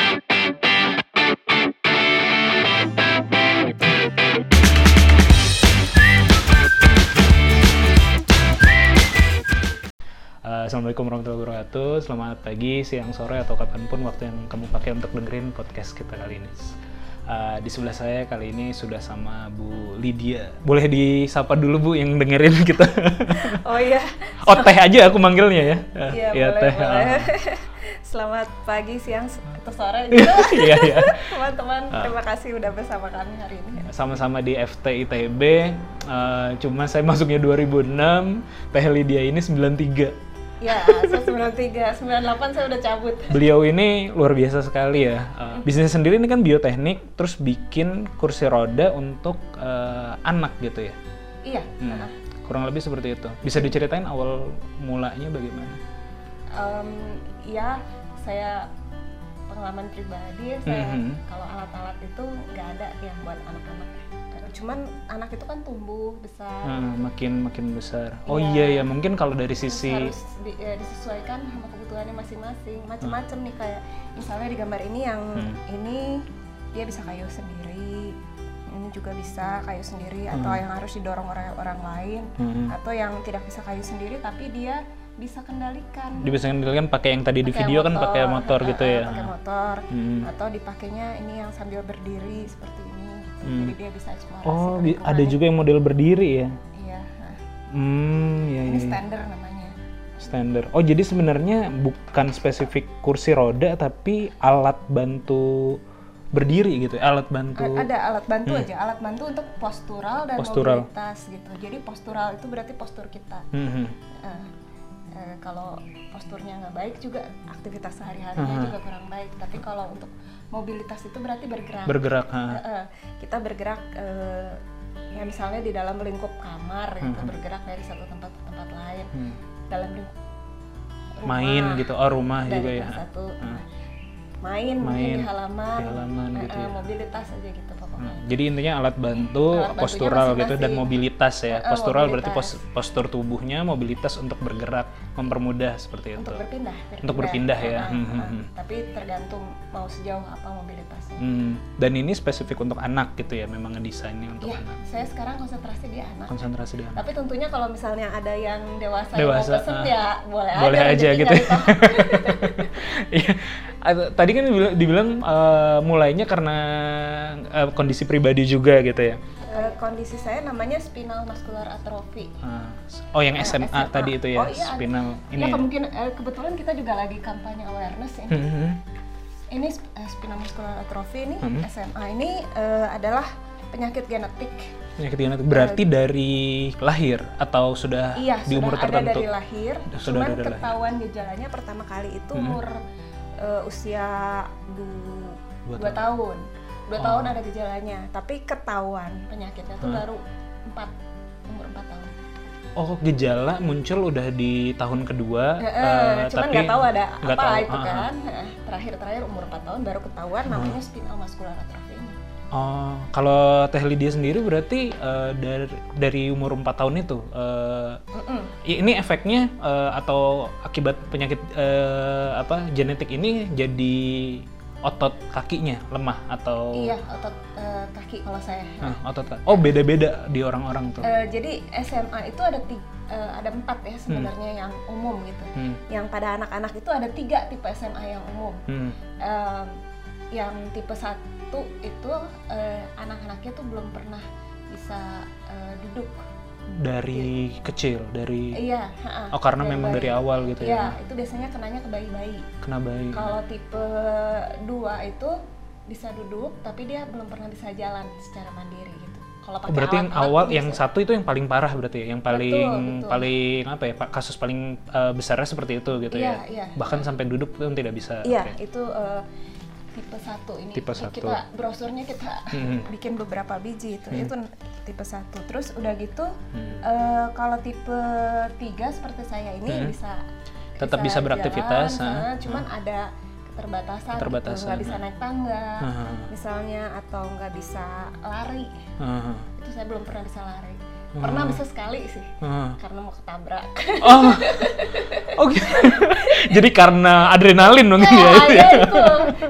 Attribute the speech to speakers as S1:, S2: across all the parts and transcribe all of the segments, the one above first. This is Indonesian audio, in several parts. S1: Eh, Assalamualaikum warahmatullahi wabarakatuh. Selamat pagi, siang, sore, atau kapanpun waktu yang kamu pakai untuk dengerin podcast kita kali ini. Eh, di sebelah saya kali ini sudah sama Bu Lydia. Boleh disapa dulu Bu yang dengerin kita.
S2: Oh iya,
S1: oh teh aja aku manggilnya ya. Eh,
S2: iya
S1: iya,
S2: boleh boleh. Selamat pagi, siang, s- atau sore gitu.
S1: ah. Iya iya.
S2: Teman-teman, terima kasih udah bersama kami hari ini.
S1: Sama-sama di FT ITB. Eh, cuma saya masuknya 2006, Teh Lydia ini 93.
S2: Ya, saya 93, 98 saya udah cabut.
S1: Beliau ini luar biasa sekali ya. Uh,
S2: Hmm.
S1: bisnisnya sendiri ini kan bioteknik, terus bikin kursi roda untuk uh, anak gitu ya.
S2: Iya.
S1: Hmm, Kurang lebih seperti itu. Bisa diceritain awal mulanya bagaimana?
S2: Em, ya, saya pengalaman pribadi saya
S1: Mhm.
S2: kalau alat-alat itu nggak ada yang buat anak-anak. Cuman anak itu kan tumbuh besar.
S1: Hmm, makin makin besar. Oh
S2: Iya.
S1: iya ya, mungkin kalau dari sisi
S2: harus di- ya, disesuaikan sama kebutuhannya masing-masing macam-macam nih kayak misalnya di gambar ini yang
S1: Hmm.
S2: ini dia bisa kayu sendiri ini juga bisa kayu sendiri atau yang harus didorong orang orang lain
S1: Hmm.
S2: atau yang tidak bisa kayu sendiri tapi dia bisa kendalikan
S1: dibiasakan kan pakai yang tadi di
S2: Pakai
S1: video kan pakai motor
S2: eh,
S1: gitu
S2: eh,
S1: ya.
S2: pakai motor
S1: Hmm.
S2: atau dipakainya ini yang sambil berdiri seperti ini gitu.
S1: Hmm.
S2: jadi dia bisa eksplorasi
S1: Oh, bi-
S2: lingkungan.
S1: ada juga yang model berdiri ya.
S2: iya nah,
S1: Hmm, ya,
S2: ini
S1: ya, ya.
S2: standar namanya
S1: Standar. Oh, jadi sebenarnya bukan spesifik kursi roda tapi alat bantu berdiri gitu, ya, alat bantu.
S2: A- ada alat bantu aja alat bantu untuk postural dan
S1: Hmm. Postural.
S2: mobilitas gitu jadi postural itu berarti postur kita
S1: Mhm.
S2: Eh, eh, kalau posturnya nggak baik juga aktivitas sehari-harinya
S1: Hmm.
S2: juga kurang baik tapi kalau untuk mobilitas itu berarti bergerak
S1: Bergerak. ha.
S2: Eh, eh, kita bergerak eh, ya misalnya di dalam lingkup kamar gitu, bergerak dari satu tempat ke tempat lain
S1: Hmm.
S2: dalam lingkup
S1: Main
S2: rumah,
S1: gitu, oh rumah
S2: dari
S1: juga ya.
S2: kelas satu
S1: Ah.
S2: main, mungkin
S1: Main,
S2: di halaman,
S1: di halaman
S2: eh,
S1: gitu
S2: eh,
S1: ya.
S2: mobilitas aja gitu pokoknya
S1: Hmm. Jadi intinya alat bantu,
S2: Alat bantunya
S1: postural gitu dan
S2: masing-masing.
S1: mobilitas ya.
S2: Eh, eh,
S1: Postural berarti
S2: mobilitas.
S1: pos- postur tubuhnya, mobilitas untuk bergerak, mempermudah seperti itu.
S2: untuk berpindah,
S1: Gitu. Untuk berpindah ya,
S2: Ah,
S1: hmm,
S2: ah,
S1: hmm, hmm.
S2: tapi tergantung mau sejauh apa mobilitasnya
S1: Hmm. Dan ini spesifik untuk anak gitu ya, memang desainnya untuk Hmm.
S2: Iya,
S1: anak.
S2: saya sekarang konsentrasi di anak
S1: Konsentrasi di anak.
S2: tapi tentunya kalau misalnya ada yang dewasa,
S1: Dewasa,
S2: yang mau pesen
S1: ah.
S2: ya boleh,
S1: Boleh
S2: aja,
S1: aja
S2: nanti
S1: gitu.
S2: nyari tahu.
S1: Iya. Ad- Tadi kan dibila- dibilang eh, mulainya karena eh, kondisi pribadi juga gitu ya.
S2: Eh, kondisi saya namanya spinal muscular atrophy
S1: Ah, Oh yang
S2: Eh,
S1: SMA,
S2: SMA.
S1: tadi itu ya,
S2: Oh, iya.
S1: spinal ini.
S2: ya,
S1: ya?
S2: kemungkinan eh, kebetulan kita juga lagi kampanye awareness ini
S1: Mhm.
S2: ini sp- eh, spinal muscular atrophy ini
S1: Hmm.
S2: SMA ini eh, adalah penyakit genetik
S1: Penyakit genetik berarti dari lahir atau sudah
S2: Iya,
S1: di umur
S2: sudah ada
S1: tertentu?
S2: dari lahir.
S1: Sudah
S2: cuman
S1: ada dari lahir.
S2: ketahuan gejalanya pertama kali itu
S1: Mhm.
S2: umur eh, usia 2
S1: Dua
S2: dua,
S1: tahun.
S2: tahun. Dua
S1: Oh.
S2: tahun ada gejalanya, tapi ketahuan penyakitnya tuh
S1: Hmm.
S2: baru 4 umur 4 tahun.
S1: Oh, gejala muncul udah di tahun kedua,
S2: Heeh,
S1: eh,
S2: cuman
S1: tapi
S2: nggak tahu ada
S1: nggak
S2: apa
S1: tahu,
S2: itu
S1: ah, ah.
S2: kan. Heeh, Terakhir-terakhir umur 4 tahun baru ketahuan namanya spinal muscular atrophy. ini.
S1: Oh, kalau Teh Lydia sendiri berarti eh, dari dari umur 4 tahun itu eh,
S2: Mm-mm.
S1: i- ini efeknya eh, atau akibat penyakit eh, apa genetik ini jadi otot kakinya lemah atau
S2: Iya, otot eh, kaki kalau saya.
S1: Oh. Hah, otot kaki. Oh, beda-beda di orang-orang tuh.
S2: Eh, jadi SMA itu ada ti- eh, ada empat ya sebenarnya yang umum gitu.
S1: Hmm,
S2: yang pada anak-anak itu ada tiga tipe SMA yang umum.
S1: hmm.
S2: Em, yang tipe satu itu eh, anak-anaknya tuh belum pernah bisa eh, duduk.
S1: dari kecil dari
S2: Iya. ha-ha,
S1: oh karena
S2: dari
S1: memang
S2: bayi.
S1: dari awal gitu
S2: Iya,
S1: ya Hmm.
S2: itu biasanya kenanya ke bayi-bayi.
S1: kena bayi
S2: Kalau tipe dua itu bisa duduk tapi dia belum pernah bisa jalan secara mandiri gitu. Kalau
S1: Oh,
S2: pakai
S1: berarti yang
S2: alat-alat
S1: awal
S2: tuh
S1: yang
S2: bisa.
S1: satu itu yang paling parah berarti ya yang paling
S2: betul.
S1: paling apa ya pa- kasus paling eh, besarnya seperti itu gitu ya
S2: Iya, iya.
S1: bahkan sampai duduk pun tidak bisa
S2: Iya,
S1: Oke.
S2: itu eh, tipe satu ini.
S1: Tipe
S2: Ini
S1: satu.
S2: Kita brosurnya kita
S1: Mhm.
S2: bikin beberapa biji itu. Itu tipe satu. Terus udah gitu
S1: Hmm.
S2: eh, kalau tipe tiga seperti saya ini
S1: Mhm.
S2: bisa
S1: Tetap bisa beraktivitas,
S2: jalan,
S1: ah.
S2: eh, cuman ada keterbatasan. gitu.
S1: Keterbatasan, Hmm.
S2: Nggak bisa naik tangga.
S1: Aha,
S2: Misalnya atau nggak bisa lari.
S1: aha,
S2: Itu saya belum pernah bisa lari.
S1: Hmm.
S2: Pernah bisa sekali sih
S1: aha.
S2: karena mau ketabrak.
S1: oh oke jadi karena adrenalin mungkin ya itu ya
S2: Iya, itu.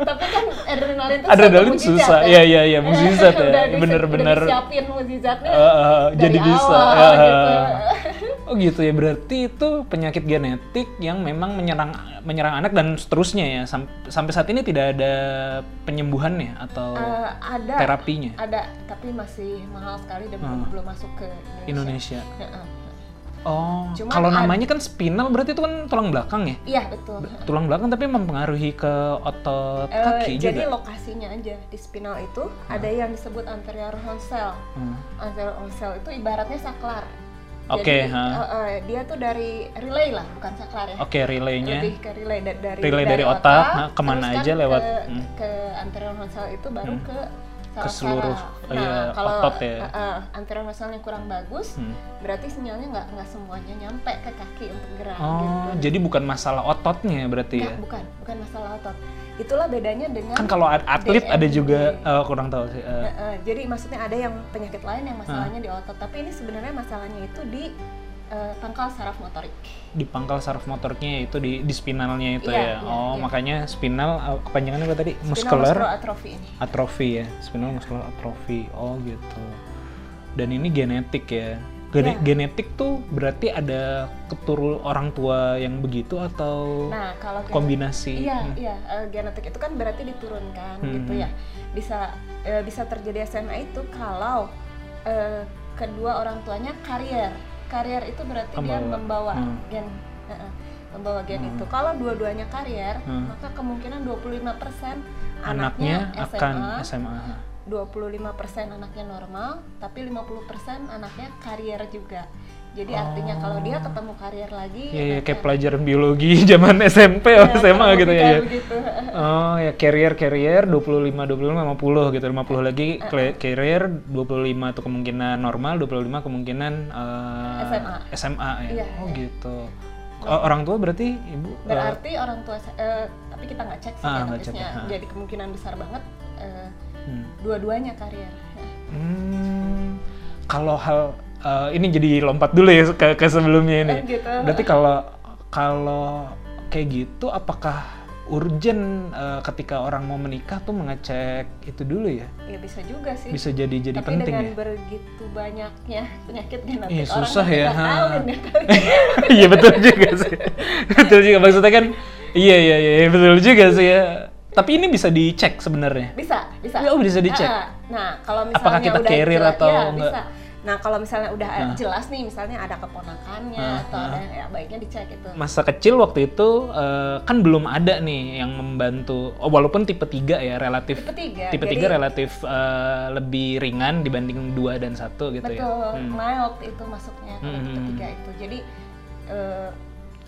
S2: Tapi kan adrenalin itu
S1: adrenalin
S2: suatu mukjizat,
S1: susah ya ya ya mukjizat ya
S2: Udah disi- udah
S1: bener-bener
S2: disiapin mukjizatnya
S1: Eh, eh, jadi
S2: dari
S1: bisa
S2: awal,
S1: Eh, eh,
S2: gitu.
S1: eh. Oh gitu ya, berarti itu penyakit genetik yang memang menyerang menyerang anak dan seterusnya ya. Sam- sampai saat ini tidak ada penyembuhannya atau
S2: Eh, ada
S1: terapinya
S2: ada tapi masih mahal sekali dan belum- belum masuk ke Indonesia.
S1: Indonesia.
S2: Heeh.
S1: Oh,
S2: Cuman
S1: kalau
S2: ad-
S1: namanya kan spinal berarti itu kan tulang belakang ya.
S2: Iya betul.
S1: Tulang belakang tapi mempengaruhi ke otot
S2: Eh,
S1: kaki
S2: jadi
S1: juga.
S2: lokasinya aja di spinal itu ada yang disebut anterior honsel.
S1: Hmm.
S2: Anterior honsel itu ibaratnya saklar.
S1: Oke,
S2: Jadi,
S1: ha.
S2: eh, eh, dia tuh dari relay lah, bukan saklar ya.
S1: Oke, relaynya.
S2: Lebih ke relay da- dari
S1: Iya. Relay dari otak, nah, kemana
S2: terus kan
S1: aja lewat,
S2: ke,
S1: hmm.
S2: ke anterior honsel itu baru ke
S1: Ke
S2: saraf
S1: seluruh,
S2: saraf.
S1: oh iya,
S2: kalau
S1: otot ya.
S2: eh, eh, anterior honselnya kurang bagus,
S1: Hmm.
S2: berarti sinyalnya nggak nggak semuanya nyampe ke kaki untuk gerak.
S1: Oh,
S2: gitu.
S1: jadi bukan masalah ototnya berarti
S2: Nggak,
S1: ya.
S2: bukan, bukan masalah otot. Itulah bedanya dengan
S1: Kan kalau ad- atlet ada
S2: DMD.
S1: juga eh, kurang tahu sih. eh,
S2: Nah, eh, jadi maksudnya ada yang penyakit lain
S1: Ah.
S2: yang masalahnya di otot, tapi ini sebenarnya masalahnya itu di eh, pangkal saraf motorik.
S1: di pangkal saraf motoriknya itu di, di spinalnya itu
S2: Iya,
S1: ya.
S2: iya,
S1: oh,
S2: iya.
S1: makanya spinal eh, kepanjangannya apa tadi?
S2: Spinal
S1: Muscular
S2: muscular atrophy ini.
S1: atrofi ya. Spinal muscular atrofi. Oh, gitu. Dan ini genetik ya. Gene-
S2: Iya.
S1: Genetik tuh berarti ada keturun orang tua yang begitu atau
S2: Nah, kalau gen-
S1: kombinasi?
S2: Iya,
S1: Hmm.
S2: iya, eh, genetik itu kan berarti diturunkan
S1: Hmm.
S2: gitu ya. Bisa eh, bisa terjadi SMA itu kalau eh, kedua orang tuanya karier. Karier itu berarti dia
S1: Membawa.
S2: membawa
S1: Hmm.
S2: gen eh, eh, membawa gen itu. Kalau dua-duanya karier,
S1: Hmm.
S2: maka kemungkinan 25%
S1: Anaknya,
S2: SMA,
S1: akan SMA.
S2: 25% anaknya normal, tapi 50% anaknya karier juga. Jadi
S1: Oh.
S2: artinya kalau dia ketemu karier lagi,
S1: Iya, iya,
S2: nah,
S1: kayak pelajaran biologi zaman SMP atau SMA
S2: kurang
S1: gitu ya.
S2: lebih kayak
S1: iya.
S2: begitu.
S1: Oh ya carrier carrier 25 25 50 gitu 50 lagi kle- carrier 25 itu kemungkinan normal 25 kemungkinan eh,
S2: SMA.
S1: SMA ya.
S2: Iya,
S1: oh gitu. O- orang tua berarti ibu eh,
S2: Berarti orang tua saya- eh, tapi kita nggak cek sih
S1: Ah, nggak cek
S2: database-nya.
S1: ya, ah.
S2: Jadi kemungkinan besar banget eh,
S1: hmm.
S2: dua-duanya karier. Nah,
S1: Hmm, kalau hal eh, ini jadi lompat dulu ya ke, ke sebelumnya ini.
S2: kan gitu.
S1: Berarti kalau kalau kayak gitu apakah urgent eh, ketika orang mau menikah tuh mengecek itu dulu ya?
S2: Ya bisa juga sih.
S1: Bisa jadi jadi
S2: tapi
S1: penting
S2: dengan
S1: ya?
S2: begitu banyaknya penyakit genetik
S1: Ih,
S2: orang
S1: susah
S2: kan
S1: ya,
S2: nggak
S1: ha.
S2: tahu kan, nggak tahu.
S1: Iya betul juga sih. betul juga maksudnya kan. Iya iya iya iya, betul juga sih ya. Tapi ini bisa dicek sebenarnya.
S2: bisa bisa
S1: Ya, oh, bisa dicek.
S2: Ah, ah. nah kalau misalnya
S1: Apakah kita
S2: udah
S1: carrier
S2: jela-
S1: atau
S2: ya,
S1: enggak?
S2: bisa. nah kalau misalnya udah eh, jelas nih misalnya ada keponakannya
S1: Ah,
S2: atau
S1: ah.
S2: ada ya baiknya dicek itu
S1: Masa kecil waktu itu eh, kan belum ada nih yang membantu. Oh, walaupun tipe 3 ya relatif
S2: tipe tiga
S1: tipe
S2: jadi-
S1: 3 relatif eh, lebih ringan dibanding 2 dan 1 gitu ya.
S2: betul
S1: Hmm.
S2: main waktu itu masuknya ke
S1: Hmm,
S2: tipe
S1: hmm,
S2: tiga itu jadi eh,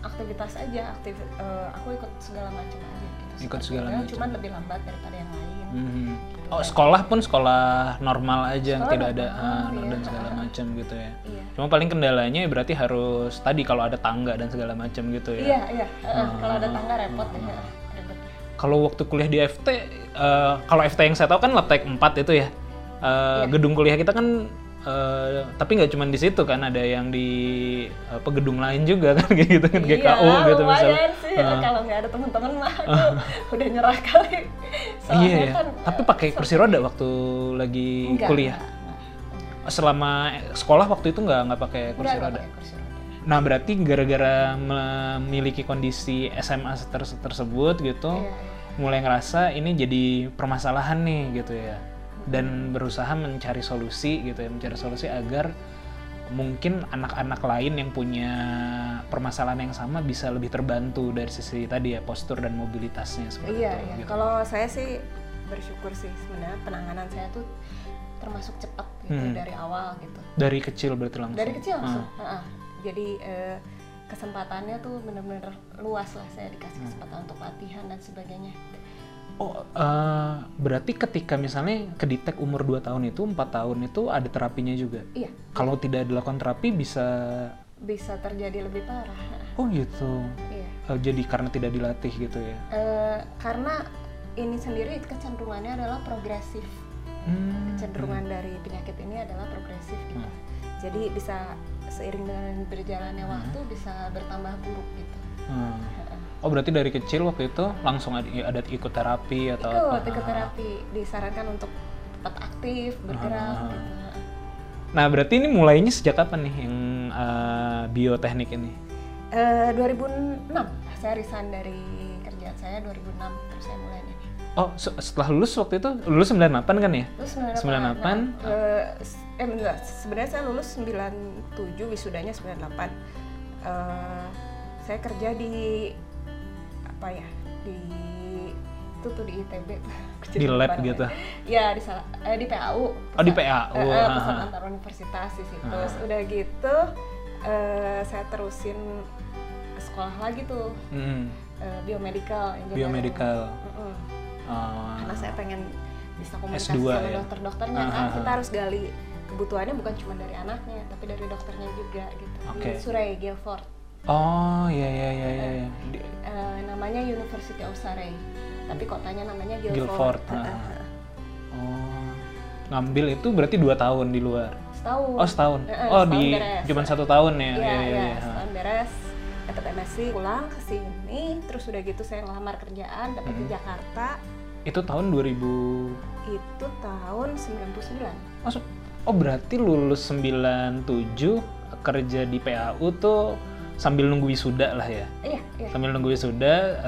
S2: aktivitas aja aktif eh, aku ikut segala macam aja gitu
S1: Ikut
S2: seperti
S1: segala
S2: itu,
S1: macam.
S2: cuman lebih lambat daripada yang lain
S1: Mhm. Oh, sekolah pun sekolah normal aja, yang tidak
S2: Sekolah
S1: ada
S2: normal,
S1: ah,
S2: iya.
S1: dan segala macam gitu ya.
S2: iya
S1: Cuma paling kendalanya ya berarti harus tadi kalau ada tangga dan segala macam gitu ya.
S2: iya iya eh, eh, kalau ada tangga repot deh eh, ribet
S1: Kalau waktu kuliah di FT, eh, kalau FT yang saya tahu kan Laptek 4 itu ya. Eh,
S2: Iya.
S1: Gedung kuliah kita kan, eh, tapi nggak cuma di situ kan, ada yang di eh, pegedung lain juga kan, kayak gitu kan, GKU
S2: iya,
S1: gitu misalnya. Ah.
S2: lumayan sih kalau nggak ada teman-teman mah aku udah nyerah kali. Soalnya
S1: Iya, ya.
S2: kan eh,
S1: tapi pakai kursi roda waktu lagi
S2: enggak,
S1: kuliah.
S2: enggak,
S1: Selama sekolah waktu itu nggak nggak pakai
S2: enggak,
S1: kursi
S2: enggak
S1: roda.
S2: pakai kursi roda.
S1: Nah berarti gara-gara memiliki kondisi SMA ter- tersebut gitu,
S2: Iya,
S1: mulai ngerasa ini jadi permasalahan nih gitu ya
S2: Hmm.
S1: dan berusaha mencari solusi gitu ya mencari solusi agar mungkin anak-anak lain yang punya permasalahan yang sama bisa lebih terbantu dari sisi tadi ya postur dan mobilitasnya seperti
S2: Iya,
S1: itu
S2: iya.
S1: gitu.
S2: Kalau saya sih bersyukur sih sebenarnya penanganan saya tuh termasuk cepat gitu
S1: Hmm.
S2: dari awal gitu.
S1: dari kecil berarti langsung
S2: Dari kecil langsung.
S1: Ah,
S2: Heeh. Jadi eh, kesempatannya tuh bener-bener luas lah saya
S1: Hmm.
S2: dikasih kesempatan untuk latihan dan sebagainya.
S1: oh eh, berarti ketika misalnya kedetek umur 2 tahun itu empat tahun itu ada terapinya juga
S2: Iya,
S1: kalau tidak dilakukan terapi bisa
S2: bisa terjadi lebih parah.
S1: oh gitu
S2: Iya.
S1: Eh, jadi karena tidak dilatih gitu ya
S2: Eh, karena ini sendiri kecenderungannya adalah progresif
S1: Hmm.
S2: kecenderungan dari penyakit ini adalah progresif gitu jadi bisa seiring dengan berjalannya waktu bisa bertambah buruk gitu
S1: Hmm. Oh berarti dari kecil waktu itu langsung ada, ada ikut terapi atau
S2: ikut
S1: apa?
S2: ikut terapi disarankan untuk tetap aktif bergerak gitu
S1: Nah, berarti ini mulainya sejak kapan nih yang eh, bioteknik ini?
S2: Eh, 2006 saya resign dari kerjaan saya 2006 terus saya mulai ini.
S1: Oh, se- setelah lulus waktu itu lulus 98 kan ya?
S2: Terus
S1: 98,
S2: 98. eh, s- eh enggak, sebenarnya saya lulus 97 wisudanya 98. Eh, saya kerja di apa ya? Di itu tuh di ITB tuh. Aku jadi
S1: Di
S2: lupa
S1: lab
S2: namanya.
S1: gitu?
S2: Iya, di salah eh, di PAU.
S1: Oh, di
S2: Pusat-
S1: PAU,
S2: eh, eh, pusat
S1: aha.
S2: antar universitas di situ.
S1: Ah.
S2: Udah gitu eh, saya terusin sekolah lagi tuh
S1: Mm,
S2: eh, biomedical engineering.
S1: biomedical.
S2: Mm-mm
S1: Ah,
S2: karena saya pengen bisa komunikasi
S1: S2
S2: sama
S1: ya?
S2: dokter-dokternya
S1: Ah,
S2: kan
S1: ah,
S2: kita
S1: ah.
S2: harus gali kebutuhannya bukan cuma dari anaknya tapi dari dokternya juga gitu
S1: Oke.
S2: di Surrey Guilford
S1: Oh, iya iya iya iya. iya. Di-
S2: Eh, namanya University of Surrey tapi kotanya namanya Guilford,
S1: Guilford. ah. Oh. Ngambil itu berarti dua tahun di luar.
S2: setahun
S1: Oh, setahun.
S2: Eh, eh,
S1: oh,
S2: setahun
S1: di
S2: beres.
S1: cuma satu tahun ya.
S2: Iya,
S1: Iya iya
S2: iya,
S1: iya.
S2: setahun beres dapat MSc pulang ke sini terus udah gitu saya ngelamar kerjaan dapat
S1: Mm-hmm.
S2: di Jakarta
S1: Itu tahun 2000
S2: itu tahun 99
S1: Oh, se- oh berarti lulus 97 kerja di PAU tuh sambil nunggu wisuda lah ya.
S2: iya iya
S1: Sambil nunggu wisuda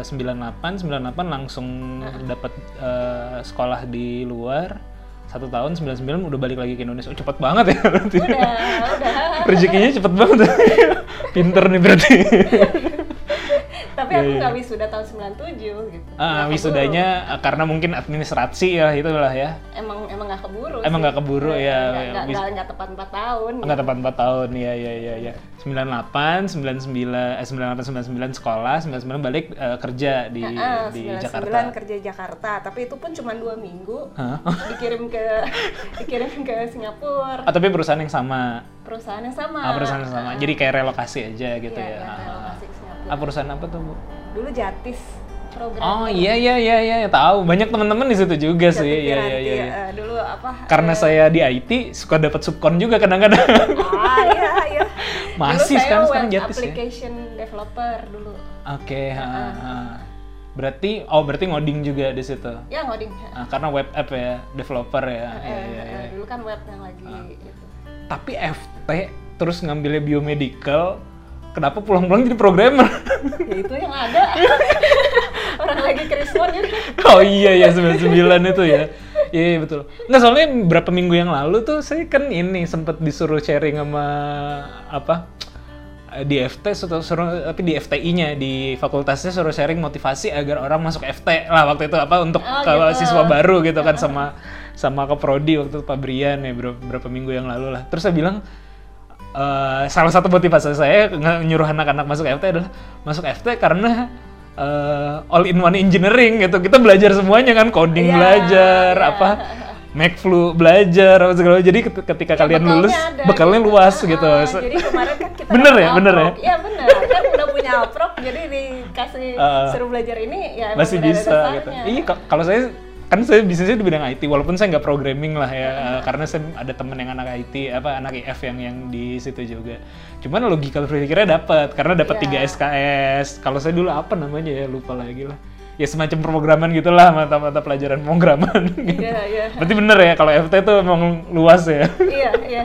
S1: eh, 98 98 langsung dapat eh, sekolah di luar. Satu tahun 99 udah balik lagi ke Indonesia. Oh, cepet banget ya berarti.
S2: udah udah
S1: Rezekinya cepet banget. Pinter nih berarti.
S2: tapi
S1: Iya,
S2: aku nggak wisuda tahun 97 gitu
S1: Ah,
S2: Nggak
S1: wisudanya eh, karena mungkin administrasi ya itulah ya.
S2: keburu. emang emang nggak keburu
S1: Emang nggak keburu ya.
S2: nggak
S1: Wis-
S2: nggak nggak tepat 4 tahun
S1: Enggak tepat 4 tahun, ya ya ya ya. 98, 99, eh 98 99 sekolah, 99 balik eh, kerja di
S2: Ah,
S1: di
S2: 99
S1: Jakarta.
S2: kerja di Jakarta tapi itu pun cuma dua minggu
S1: Hah?
S2: dikirim ke dikirim ke Singapura
S1: Oh, tapi perusahaan yang sama.
S2: perusahaan yang sama
S1: Ah, perusahaan yang sama. Jadi kayak relokasi aja gitu ya.
S2: Iya, iya,
S1: Ah, ah.
S2: relokasi ke Singapura.
S1: Ah, perusahaan apa tuh, Bu?
S2: dulu Jatis program
S1: Oh, iya iya iya iya, tahu. Banyak teman-teman di situ juga sih. Iya iya
S2: Piranti,
S1: iya. iya.
S2: eh, dulu apa
S1: Karena saya di IT suka dapat subkon juga kadang-kadang.
S2: ah iya iya
S1: Masih
S2: dulu
S1: sekarang- sekarang
S2: saya web
S1: Jatis ya.
S2: application developer dulu
S1: Oke, ha, ha. Berarti oh, berarti ngoding juga di situ.
S2: ya ngoding
S1: Ah, karena web app ya, developer ya. Iya,
S2: Eh,
S1: iya, Ah. iya.
S2: eh, dulu kan web yang lagi itu
S1: tapi FT terus ngambilnya biomedical kenapa pulang-pulang jadi programmer
S2: ya itu yang ada orang lagi krismon jadi
S1: oh iya ya 99 itu ya iya iya, betul nggak soalnya berapa minggu yang lalu tuh saya kan ini sempat disuruh sharing sama apa eh, di FT suruh, suruh- tapi di FTI-nya di fakultasnya suruh sharing motivasi agar orang masuk FT lah waktu itu apa untuk
S2: Oh,
S1: kalau
S2: gitu.
S1: siswa baru gitu kan sama sama ke prodi waktu itu Pak Brian ya berapa, berapa minggu yang lalu lah terus saya bilang eh, salah satu motivasi saya nge- nyuruh anak-anak masuk FT adalah masuk FT karena eh, all in one engineering gitu kita belajar semuanya kan coding
S2: Iya,
S1: belajar
S2: iya.
S1: apa Macflu belajar apa segala jadi ket- ketika kalian
S2: Iya, bekalnya
S1: lulus
S2: ada,
S1: bekalnya
S2: gitu.
S1: luas
S2: Ah,
S1: gitu Se-
S2: jadi kemarin kan kita
S1: Bener
S2: dapat
S1: ya, bener ya?
S2: alprok. Iya bener, kan udah punya alprok jadi dikasih
S1: Ah.
S2: suruh belajar ini ya emang
S1: masih
S2: udah ada
S1: bisa gitu.
S2: dasarnya.
S1: Iya, ka- kalau saya kan saya bisnisnya di bidang IT walaupun saya nggak programming lah
S2: Iya.
S1: ya eh, karena saya ada temen yang anak IT apa anak IF yang yang di situ juga. Cuman logika berpikirnya dapat karena dapat 3
S2: Iya.
S1: SKS. Kalau saya dulu apa namanya ya lupa lagi lah. Ya semacam pemrograman gitulah mata-mata pelajaran pemrograman. gitu.
S2: Iya, iya.
S1: Berarti bener ya kalau FT tuh emang luas ya.
S2: Iya, iya.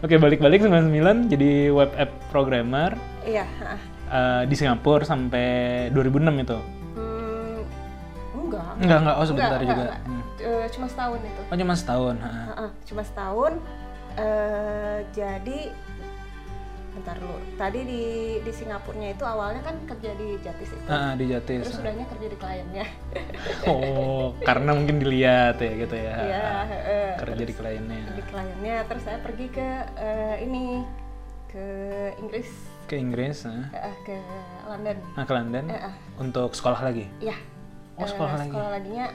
S1: Oke, balik-balik 99 jadi web app programmer
S2: Iya, ah.
S1: eh, di Singapura sampai 2006 itu.
S2: Hmm, enggak.
S1: Enggak, enggak. Oh, sebentar
S2: Enggak,
S1: juga.
S2: enggak, enggak. Eh, cuma setahun itu.
S1: Oh cuma setahun. ha.
S2: Ah, ah, cuma setahun. eh jadi bentar dulu. Tadi di di Singapurnya itu awalnya kan kerja di Jatis itu.
S1: Ah, ah, di Jatis.
S2: Terus sudahnya kerja di kliennya.
S1: Oh, karena mungkin dilihat ya gitu ya.
S2: Iya, heeh.
S1: Kerja di kliennya.
S2: di kliennya terus saya pergi ke eh, ini ke Inggris
S1: Ke Inggris, ah.
S2: eh, ke London
S1: Nah, ke London
S2: Heeh.
S1: untuk sekolah lagi.
S2: ya
S1: Oh,
S2: eh,
S1: sekolah lagi.
S2: sekolah laginya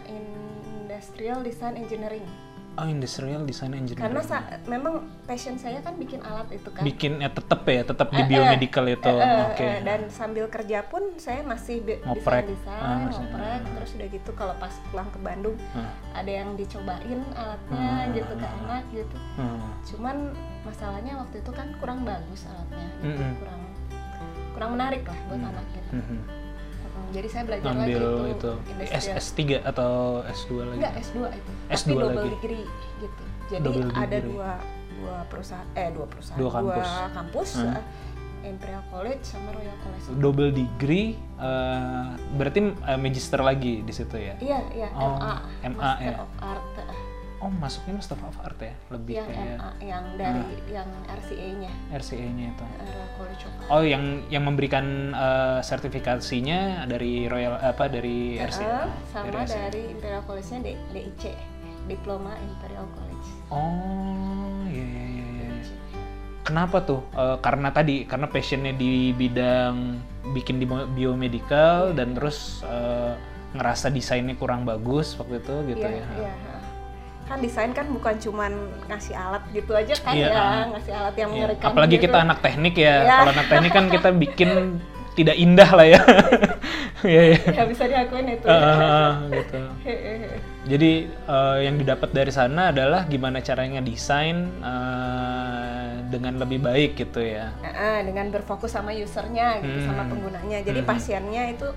S2: industrial design engineering
S1: Oh, industrial design engineering.
S2: karena sa- memang passion saya kan bikin alat itu kan
S1: Bikin ya tetap ya, tetap di
S2: Eh, eh,
S1: biomedical itu.
S2: eh, eh,
S1: Gitu, Oke.
S2: eh, dan sambil kerja pun saya masih bi-
S1: Ngoprek.
S2: desain desain
S1: Ah, masih-
S2: ngoprek terus udah gitu kalau pas pulang ke Bandung
S1: Ah.
S2: ada yang dicobain alatnya gitu ke anak gitu
S1: Hmm.
S2: cuman masalahnya waktu itu kan kurang bagus alatnya gitu.
S1: Mm-mm.
S2: kurang kurang menarik lah buat anak gitu
S1: Mhm.
S2: Mm, jadi saya belajar
S1: Ngambil
S2: lagi
S1: itu, S
S2: industrial
S1: S3 atau S2 lagi.
S2: enggak S2 itu
S1: S2
S2: tapi double
S1: lagi.
S2: degree gitu jadi
S1: Double
S2: ada
S1: degree.
S2: dua dua perusahaan eh dua perusahaan
S1: Dua kampus.
S2: kampus,
S1: Hmm.
S2: eh, Imperial College sama Royal College
S1: double degree eh, berarti eh, magister lagi di situ ya
S2: iya iya
S1: Oh,
S2: MA
S1: MA,
S2: Master
S1: ya.
S2: of Art eh,
S1: oh masuknya Master of Art ya lebih
S2: yang
S1: kayak Ah.
S2: MA yang dari yang RCA-nya
S1: RCA-nya itu
S2: Royal College of Art
S1: oh yang yang memberikan eh, sertifikasinya dari Royal apa ah. dari E. RCA
S2: Eh, sama
S1: RCA.
S2: dari Imperial College-nya D- DIC Diploma Imperial College
S1: oh iya iya iya iya, iya kenapa tuh Eh, karena tadi karena passionnya di bidang bikin di bio-
S2: Iya.
S1: biomedical dan terus eh, ngerasa desainnya kurang bagus waktu itu gitu ya
S2: Iya, iya. Kan desain kan bukan cuman ngasih alat gitu aja kan
S1: Iya.
S2: ya, ngasih alat yang
S1: Iya,
S2: mengerikan.
S1: Apalagi
S2: gitu.
S1: kita anak teknik ya.
S2: Iya.
S1: Kalau anak teknik kan kita bikin tidak indah lah ya. Iya iya.
S2: Gak bisa diakuin itu. ya.
S1: Ah, ah, ah, gitu.
S2: Hehehe.
S1: Jadi eh, yang didapat dari sana adalah gimana caranya desain eh, dengan lebih baik gitu ya.
S2: Nah, ah, dengan berfokus sama usernya gitu,
S1: Hmm.
S2: sama penggunanya. Jadi
S1: Hmm.
S2: pasiennya itu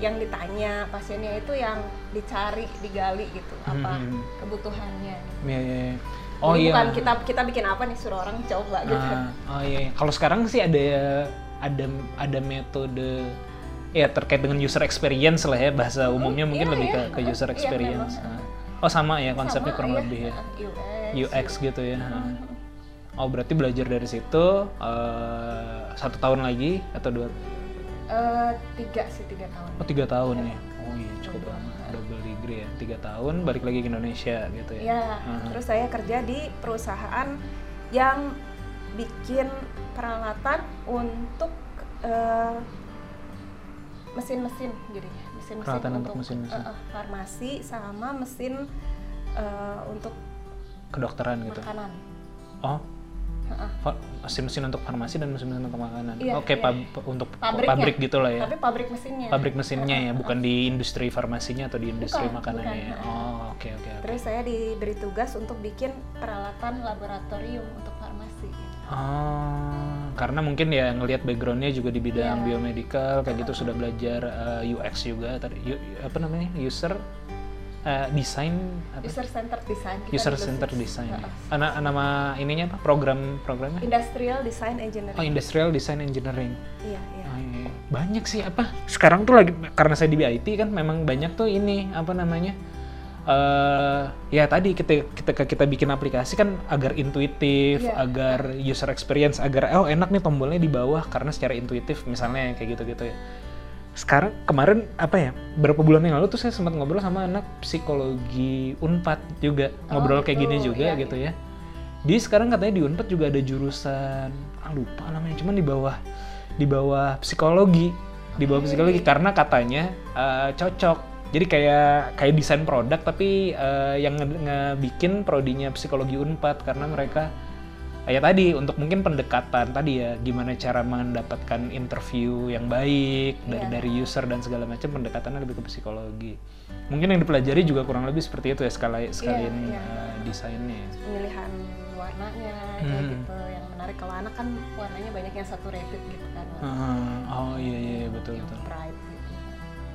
S2: yang ditanya, pasiennya itu yang dicari, digali gitu, apa
S1: Hmm.
S2: kebutuhannya.
S1: Iya, iya, iya. Oh
S2: Jadi
S1: iya.
S2: bukan kita kita bikin apa nih suruh orang coba gitu.
S1: Ah, oh iya. iya. Kalau sekarang sih ada ada ada metode ya terkait dengan user experience lah ya bahasa umumnya mungkin
S2: iya,
S1: lebih
S2: iya.
S1: ke, ke user
S2: Iya,
S1: experience.
S2: memang.
S1: Ah. Oh sama ya konsepnya
S2: Sama,
S1: kurang
S2: iya,
S1: lebih ya.
S2: ah, UX.
S1: UX gitu ya.
S2: Hmm.
S1: Oh berarti belajar dari situ eh, satu tahun lagi atau dua?
S2: Eh, tiga sih tiga tahun.
S1: Oh tiga tahun ya. Oh iya cukup lama. Double degree ya. Tiga tahun balik lagi ke Indonesia gitu ya.
S2: Ya, terus saya kerja di perusahaan yang bikin peralatan untuk eh, mesin-mesin jadinya, mesin-mesin
S1: Peralatan untuk mesin-mesin.
S2: eh, eh, farmasi sama mesin eh, untuk
S1: Kedokteran gitu.
S2: makanan.
S1: Oh
S2: Heeh.
S1: fa- mesin-mesin untuk farmasi dan mesin-mesin untuk makanan.
S2: Iya,
S1: Oke
S2: iya.
S1: pab- untuk
S2: Pabriknya.
S1: pabrik gitu lah ya.
S2: Tapi pabrik mesinnya.
S1: Pabrik mesinnya ya, bukan di industri farmasinya atau di industri
S2: Bukan,
S1: makanannya ya.
S2: bukan.
S1: Oh oke oke. oke.
S2: Terus saya diberi tugas untuk bikin peralatan laboratorium untuk farmasi.
S1: Oh, karena mungkin ya ngelihat backgroundnya juga di bidang
S2: Iya.
S1: biomedical kayak gitu sudah belajar eh, UX juga tadi U- apa namanya user eh, design apa?
S2: User centered design. kita Eh,
S1: user
S2: dulu
S1: center
S2: sih.
S1: design ya.
S2: Heeh.
S1: Ana- nama ininya apa program programnya
S2: Industrial design
S1: oh
S2: engineering.
S1: industrial design engineering
S2: Iya, iya.
S1: Oh, iya, iya. banyak sih apa sekarang tuh lagi karena saya di IT kan memang banyak tuh ini apa namanya eh ya tadi kita ketika kita bikin aplikasi kan agar intuitif
S2: Iya.
S1: agar user experience agar oh enak nih tombolnya di bawah karena secara intuitif misalnya kayak gitu gitu ya sekarang kemarin apa ya berapa bulan yang lalu tuh saya sempat ngobrol sama anak psikologi unpad juga
S2: Oh,
S1: ngobrol kayak
S2: gitu.
S1: gini juga
S2: Iya,
S1: gitu ya di sekarang katanya di Unpad juga ada jurusan ah lupa namanya cuman di bawah di bawah psikologi di bawah psikologi karena katanya eh, cocok jadi kayak kayak desain produk tapi eh, yang nge- ngebikin prodinya psikologi Unpad karena mereka eh, ya tadi untuk mungkin pendekatan tadi ya gimana cara mendapatkan interview yang baik dari
S2: Iya.
S1: dari user dan segala macam pendekatannya lebih ke psikologi mungkin yang dipelajari juga kurang lebih seperti itu ya sekali sekalian
S2: iya.
S1: eh, desainnya ya.
S2: pemilihan warnanya kayak
S1: Hmm.
S2: gitu yang menarik kalau anak kan warnanya banyak yang saturated gitu kan warna
S1: Heeh. oh iya iya iya, betul
S2: yang
S1: betul.
S2: bright gitu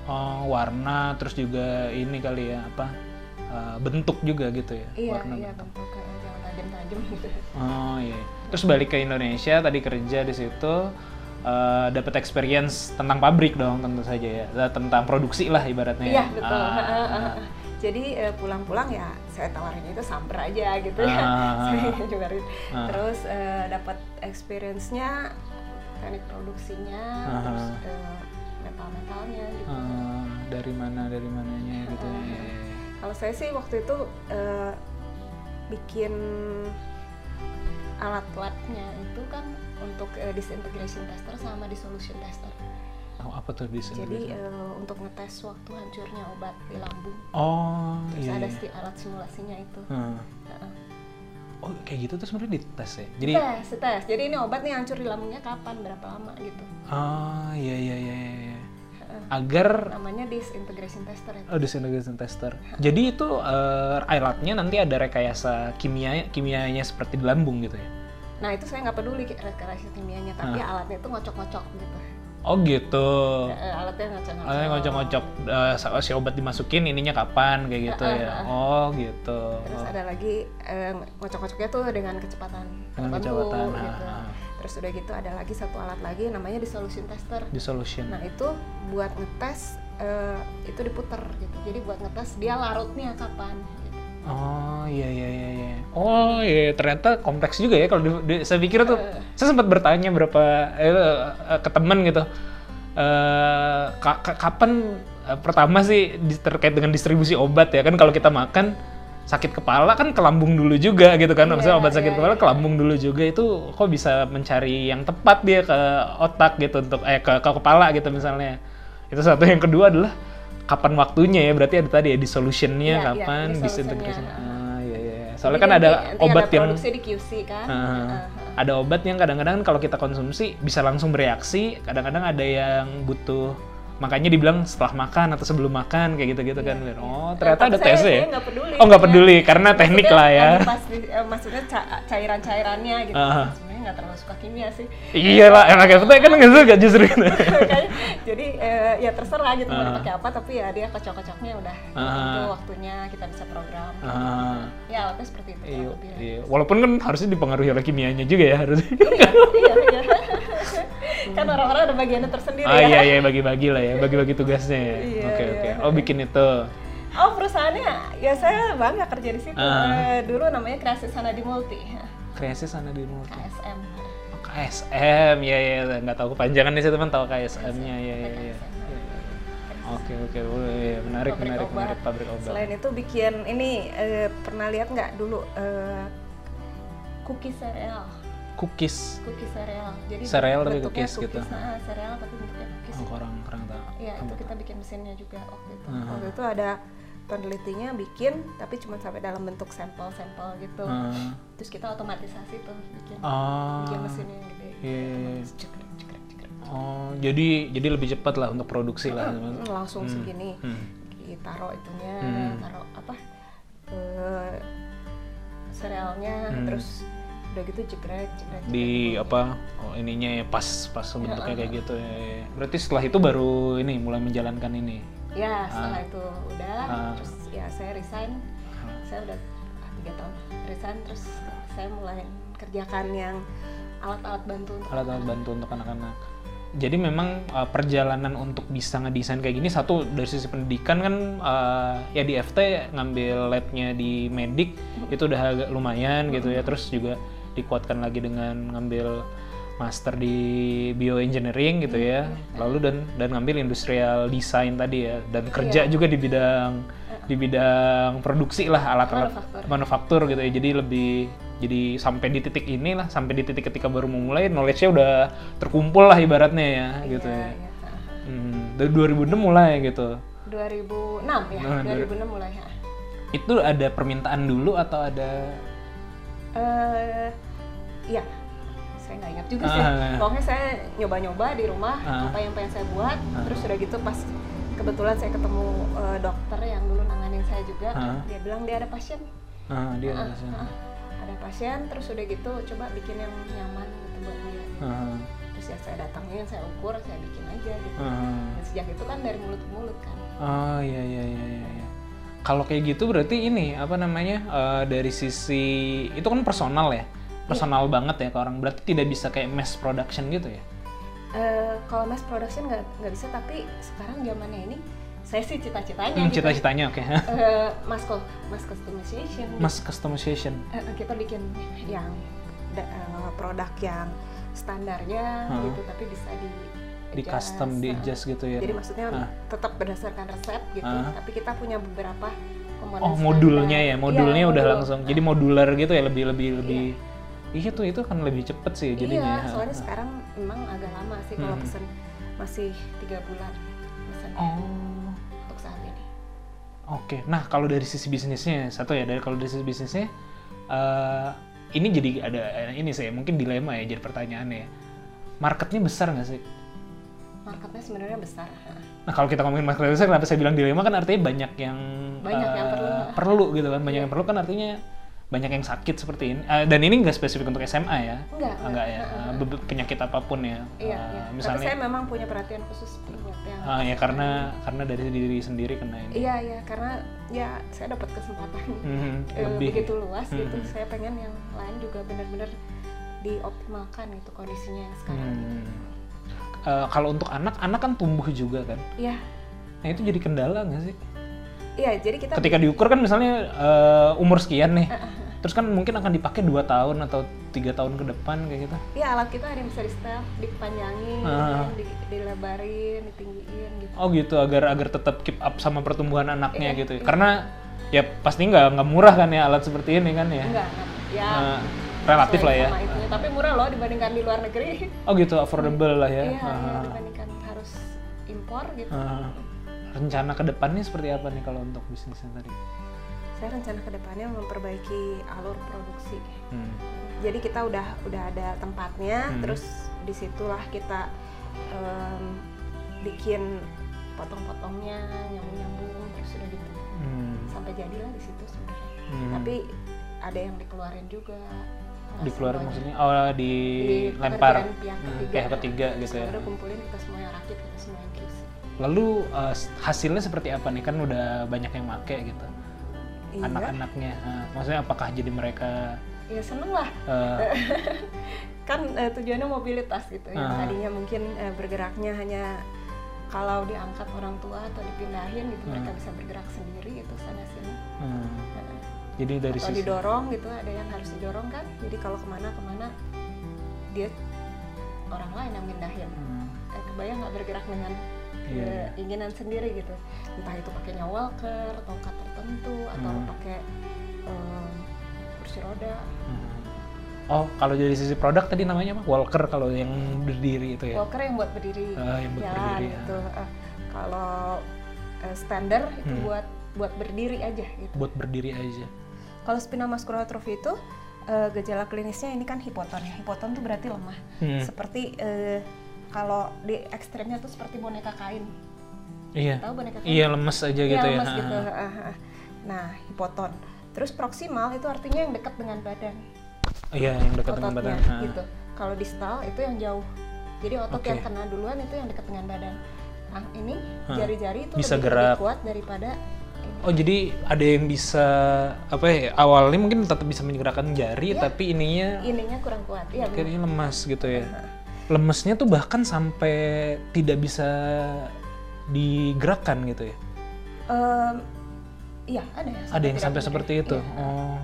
S1: Oh warna terus juga ini kali ya apa uh, bentuk juga gitu ya
S2: iya
S1: warna.
S2: iya bentuk kayak yang tajam-tajam gitu
S1: Oh iya. Terus balik ke Indonesia tadi kerja di situ uh, dapat experience tentang pabrik dong tentu saja ya Nah, tentang produksi lah ibaratnya.
S2: iya
S1: ya.
S2: betul
S1: Ah,
S2: jadi eh, pulang-pulang ya saya tawarin itu samper aja gitu ya
S1: Ah.
S2: saya nyebarin
S1: Ah.
S2: terus eh, dapat experience-nya teknik produksinya
S1: Ah.
S2: terus eh, metal-metalnya gitu
S1: ah, dari mana dari mananya gitu. ya. Iya, iya, iya.
S2: Kalau saya sih waktu itu eh, bikin alat labnya itu kan untuk eh, disintegration tester sama dissolution tester.
S1: Oh, apa tuh di sini?
S2: Jadi eh, untuk ngetes waktu hancurnya obat di lambung.
S1: oh
S2: Terus
S1: iya.
S2: ada
S1: iya.
S2: si alat simulasinya itu.
S1: Heeh.
S2: Heeh.
S1: Oh kayak gitu tuh sebenarnya dites ya. Jadi
S2: tes, tes. Jadi ini obat nih hancur di lambungnya kapan, berapa lama gitu.
S1: ah iya iya iya. iya, iya. Agar
S2: Namanya disintegration tester itu.
S1: Oh, disintegration tester. Jadi itu eh, alatnya nanti ada rekayasa kimia kimianya seperti di lambung gitu ya.
S2: Nah itu saya nggak peduli rekayasa kimianya, tapi alatnya itu ngocok-ngocok gitu.
S1: Oh gitu.
S2: Eh, alatnya ngocok-ngocok.
S1: Alatnya ngocok-ngocok eh, sa- si obat dimasukin ininya kapan kayak gitu ya. Oh gitu.
S2: Terus ada lagi eh, ngocok-ngocoknya tuh dengan kecepatan
S1: Dengan
S2: 80,
S1: kecepatan, ah,
S2: gitu.
S1: ah.
S2: Terus udah gitu ada lagi satu alat lagi namanya dissolution tester.
S1: Di solution.
S2: Nah itu buat ngetes eh, itu diputer gitu. Jadi buat ngetes dia larutnya kapan. Gitu.
S1: Oh iya iya iya. iya. Oh iya ternyata kompleks juga ya kalau di- di- saya pikir tuh saya sempat bertanya berapa eh, eh, ke teman gitu. eh, ka- ka- kapan eh, pertama sih di- terkait dengan distribusi obat ya kan kalau kita makan sakit kepala kan ke lambung dulu juga gitu kan maksudnya obat sakit kepala ke lambung dulu juga itu kok bisa mencari yang tepat dia ke otak gitu untuk eh ke, ke kepala gitu misalnya itu satu yang kedua adalah kapan waktunya ya berarti ada tadi ya dissolution-nya
S2: Iya, iya,
S1: kapan
S2: dissolution-nya.
S1: disintegration ah iya iya soalnya
S2: Jadi
S1: kan ada
S2: nanti- nanti
S1: obat yang
S2: produksi di QC kan.
S1: Ah,
S2: Heeh.
S1: ada obat yang kadang-kadang kan kalau kita konsumsi bisa langsung bereaksi kadang-kadang ada yang butuh makanya dibilang setelah makan atau sebelum makan kayak gitu-gitu kan oh ternyata
S2: Iya, Tapi
S1: ada
S2: saya-
S1: tesnya ya
S2: saya nggak peduli.
S1: oh nggak
S2: Ya.
S1: peduli karena teknik
S2: Maksudnya
S1: lah ya
S2: ada pasti- eh, maksudnya ca- cairan-cairannya gitu.
S1: Ah.
S2: Sebenarnya nggak terlalu suka kimia sih.
S1: iya lah anak FT kan nggak suka justru gitu
S2: Iya. Makanya, jadi eh, ya terserah gitu mau
S1: Ah.
S2: dipakai apa tapi ya dia kocok-kocoknya udah
S1: Ah.
S2: itu waktunya kita bisa program
S1: Ah,
S2: ya alatnya seperti itu kurang
S1: iya,
S2: lebih. ya.
S1: iya. walaupun kan harusnya dipengaruhi oleh kimianya juga ya harusnya
S2: iya iya iya kan orang-orang ada bagiannya tersendiri
S1: ah
S2: ya
S1: iya iya bagi-bagi lah ya bagi-bagi tugasnya ya
S2: Iya,
S1: oke
S2: iya.
S1: oke oh bikin itu
S2: oh perusahaannya ya saya bangga kerja di situ
S1: Ah.
S2: Eh, dulu namanya kreasi Sanadi Multi
S1: kreasi sana di multi
S2: KSM
S1: Oh, KSM ya ya ya. nggak tahu kepanjangannya sih teman tahu KSM-nya ya ya ya. Oke oke Oh, iya, menarik menarik menarik pabrik obat.
S2: selain itu bikin ini eh, pernah lihat nggak dulu eh, cookie cereal
S1: Cookies
S2: cookies cereal jadi
S1: Cereal tapi
S2: bentuknya
S1: cookies gitu.
S2: nah, cereal tapi bentuknya cookies
S1: oh, kurang kurang tahu.
S2: Iya, itu
S1: Apa?
S2: kita bikin mesinnya juga waktu itu.
S1: kan? Aha.
S2: Waktu itu ada penelitinya bikin, tapi cuma sampai dalam bentuk sampel-sampel gitu.
S1: Ah.
S2: Terus kita otomatisasi tuh bikin,
S1: Ah.
S2: bikin mesinnya yang gede.
S1: Iya, iya, iya.
S2: Cekrek, cekrek, cekrek.
S1: Oh jadi jadi lebih cepat lah untuk produksi lah.
S2: Hmm, Langsung segini,
S1: Hmm.
S2: ditaruh itunya,
S1: Hmm.
S2: taruh apa? eh, serealnya,
S1: Hmm.
S2: terus udah gitu cekrek, cekrek.
S1: Di apa oh, ininya ya pas pas bentuknya
S2: Iya,
S1: kayak gitu. ya, ya. Berarti setelah itu baru ini mulai menjalankan ini.
S2: Ya, setelah itu udah,
S1: Ah.
S2: terus ya saya resign. Saya udah ah, tiga tahun resign, terus saya mulai kerjakan yang alat-alat bantu untuk
S1: alat-alat bantu untuk anak-anak. Jadi memang uh, perjalanan untuk bisa ngedesain kayak gini satu dari sisi pendidikan kan uh, ya di FT ngambil labnya di medik itu udah agak lumayan gitu ya. Terus juga dikuatkan lagi dengan ngambil master di bioengineering gitu ya. Lalu dan dan ngambil industrial design tadi ya dan kerja juga di bidang di bidang produksi lah alat-alat
S2: Manufaktur.
S1: manufaktur gitu ya jadi lebih jadi sampai di titik ini lah sampai di titik ketika baru memulai knowledge-nya udah terkumpul lah ibaratnya ya gitu ya,
S2: ya, ya.
S1: Hmm, dari 2006 mulai gitu
S2: 2006 ya,
S1: Nah,
S2: 2006 mulai ya.
S1: itu ada permintaan dulu atau ada
S2: Eh, Iya, saya nggak ingat juga sih.
S1: Ah, ah, ah.
S2: Pokoknya saya nyoba-nyoba di rumah
S1: Ah.
S2: apa yang pengen saya buat, terus udah gitu pas kebetulan saya ketemu eh, dokter yang dulu nanganin saya juga,
S1: Ah.
S2: dia bilang dia ada pasien,
S1: ah, dia ada
S2: Ah,
S1: sana.
S2: ah. ada pasien, terus udah gitu coba bikin yang nyaman gitu buat dia.
S1: Ah,
S2: terus ya saya datangin saya ukur saya bikin aja gitu
S1: ah.
S2: dan sejak itu kan dari mulut ke mulut kan
S1: Oh iya iya iya iya. iya. Kalau kayak gitu berarti ini apa namanya eh, dari sisi itu kan personal
S2: Iya.
S1: ya, personal banget ya ke orang. Berarti tidak bisa kayak mass production gitu ya?
S2: Eh, kalau mass production nggak nggak bisa tapi sekarang zamannya ini saya sih cita-citanya
S1: Hmm,
S2: gitu
S1: cita-citanya oke.
S2: Eh, mass co- mass customization
S1: mass customization.
S2: Eh, kita bikin yang da- eh, produk yang standarnya
S1: Hmm.
S2: gitu tapi bisa di
S1: di
S2: adjust.
S1: custom di
S2: Nah,
S1: adjust gitu ya.
S2: jadi maksudnya
S1: Ah.
S2: tetap berdasarkan resep gitu
S1: Ah.
S2: tapi kita punya beberapa komponen
S1: Oh modulnya ya,
S2: standar. Iya,
S1: modulnya udah
S2: modul.
S1: langsung. Jadi modular gitu ya lebih lebih lebih. Iya tuh itu kan lebih cepet sih jadinya. ya. Nah.
S2: Iya, soalnya sekarang memang agak lama sih kalau
S1: Hmm.
S2: pesen masih tiga bulan pesen
S1: Oh.
S2: untuk saat ini.
S1: Oke, nah kalau dari sisi bisnisnya satu ya, dari kalau dari sisi bisnisnya eh, ini jadi ada eh, ini saya mungkin dilema ya jadi pertanyaannya. ya. Marketnya besar nggak sih?
S2: Marketnya sebenarnya besar. Hah.
S1: Nah kalau kita ngomongin market besar, kenapa saya bilang dilema kan artinya banyak yang
S2: Banyak yang
S1: eh,
S2: perlu. Iya.
S1: perlu gitu kan, banyak yang perlu kan artinya banyak yang sakit seperti ini Eh, dan ini nggak spesifik untuk SMA ya Ah,
S2: Nggak, nggak.
S1: nggak ya Ah, be- penyakit apapun ya
S2: Iya,
S1: Ah,
S2: iya. Tapi
S1: misalnya
S2: saya memang punya perhatian khusus buat yang
S1: ah, ya karena karena dari diri sendiri kena ini
S2: Iya, iya, karena ya saya dapat kesempatan
S1: Mhm,
S2: eh,
S1: lebih
S2: begitu luas gitu.
S1: Mhm.
S2: Saya pengen yang lain juga benar-benar dioptimalkan itu kondisinya yang sekarang.
S1: Hmm. Eh, kalau untuk anak anak kan tumbuh juga kan
S2: Iya.
S1: nah itu jadi kendala nggak sih
S2: Iya, jadi kita
S1: ketika diukur kan misalnya eh, umur sekian nih terus kan mungkin akan dipakai dua tahun atau tiga tahun ke depan kayak gitu
S2: ya alat kita ada yang bisa di setel, dipanjangin,
S1: Ah.
S2: di, dilebarin, ditinggiin gitu.
S1: oh gitu agar agar tetap keep up sama pertumbuhan anaknya
S2: Iya.
S1: gitu karena ya pasti nggak nggak murah kan ya alat seperti ini kan ya
S2: Enggak, enggak. Ya.
S1: Eh, relatif lah
S2: sesuai
S1: ya
S2: sama itunya. Tapi murah loh dibandingkan di luar negeri.
S1: oh gitu affordable lah ya
S2: Iya,
S1: Ah,
S2: iya, dibandingkan harus impor gitu.
S1: ah. rencana ke depannya seperti apa nih kalau untuk bisnisnya tadi
S2: Saya rencana kedepannya memperbaiki alur produksi.
S1: Hmm.
S2: Jadi kita udah udah ada tempatnya,
S1: Hmm.
S2: terus disitulah kita em, bikin potong-potongnya nyambung-nyambung terus sudah gitu
S1: Hmm.
S2: sampai jadilah di situ sebenarnya.
S1: Hmm.
S2: Tapi ada yang dikeluarin juga. eh, Nggak
S1: dikeluarin
S2: semuanya.
S1: maksudnya oh dilempar
S2: pengerjaan pihak
S1: Hmm,
S2: ketiga.
S1: pihak ketiga gitu ya
S2: Sekarang udah kumpulin kita semua yang rakit, kita semua yang kirim.
S1: lalu eh, hasilnya seperti apa nih kan udah banyak yang make gitu
S2: Iya.
S1: anak-anaknya Nah, maksudnya apakah jadi mereka
S2: Ya seneng lah.
S1: eh,
S2: kan eh, tujuannya mobilitas gitu ya.
S1: Ah.
S2: Tadinya mungkin eh, bergeraknya hanya kalau diangkat orang tua atau dipindahin gitu mereka bisa bergerak sendiri gitu sana sini.
S1: hmm, jadi dari
S2: Atau
S1: sisi
S2: didorong gitu ada yang harus didorong kan. Jadi kalau kemana kemana dia orang lain yang pindahin.
S1: Hmm,
S2: Eh, kebayang nggak bergerak dengan
S1: Iya,
S2: keinginan sendiri gitu. Entah itu pakainya walker, tongkat tertentu atau
S1: Hmm.
S2: pakai em, kursi roda.
S1: hmm. oh kalau dari sisi produk tadi namanya apa Walker kalau yang berdiri itu ya
S2: Walker yang buat berdiri.
S1: Ah, yang buat
S2: jalan
S1: berdiri,
S2: gitu. Ah, kalau eh, standar itu
S1: Hmm.
S2: buat buat berdiri aja gitu.
S1: buat berdiri aja
S2: Kalau spinal muscular atrophy itu eh, gejala klinisnya ini kan hipoton ya. Hipoton tuh berarti lemah.
S1: Hmm.
S2: Seperti eh, kalau di ekstremnya tuh seperti boneka kain.
S1: iya
S2: Tahu boneka kain?
S1: iya lemes aja
S2: Iya,
S1: gitu ya
S2: lemas
S1: Ah,
S2: gitu. Ah, ah. Nah, hipoton. Terus proksimal itu artinya yang dekat dengan badan,
S1: iya yang dekat dengan
S2: ototnya
S1: badan Ah,
S2: gitu. Kalau distal itu yang jauh. Jadi otot
S1: Oke.
S2: yang kena duluan itu yang dekat dengan badan. Nah, ini
S1: Ah.
S2: jari-jari itu
S1: Bisa
S2: lebih,
S1: gerak.
S2: lebih kuat daripada
S1: Oh jadi ada yang bisa apa ya awalnya mungkin tetap bisa menggerakkan jari
S2: Iya.
S1: tapi ininya
S2: ininya kurang kuat. Iya, benar.
S1: akhirnya lemas gitu ya.
S2: Iya.
S1: Lemesnya tuh bahkan sampai tidak bisa digerakkan gitu ya.
S2: Em, iya, ada yang
S1: Ada yang
S2: tidak
S1: sampai
S2: berdiri.
S1: seperti itu.
S2: Iya.
S1: Oh.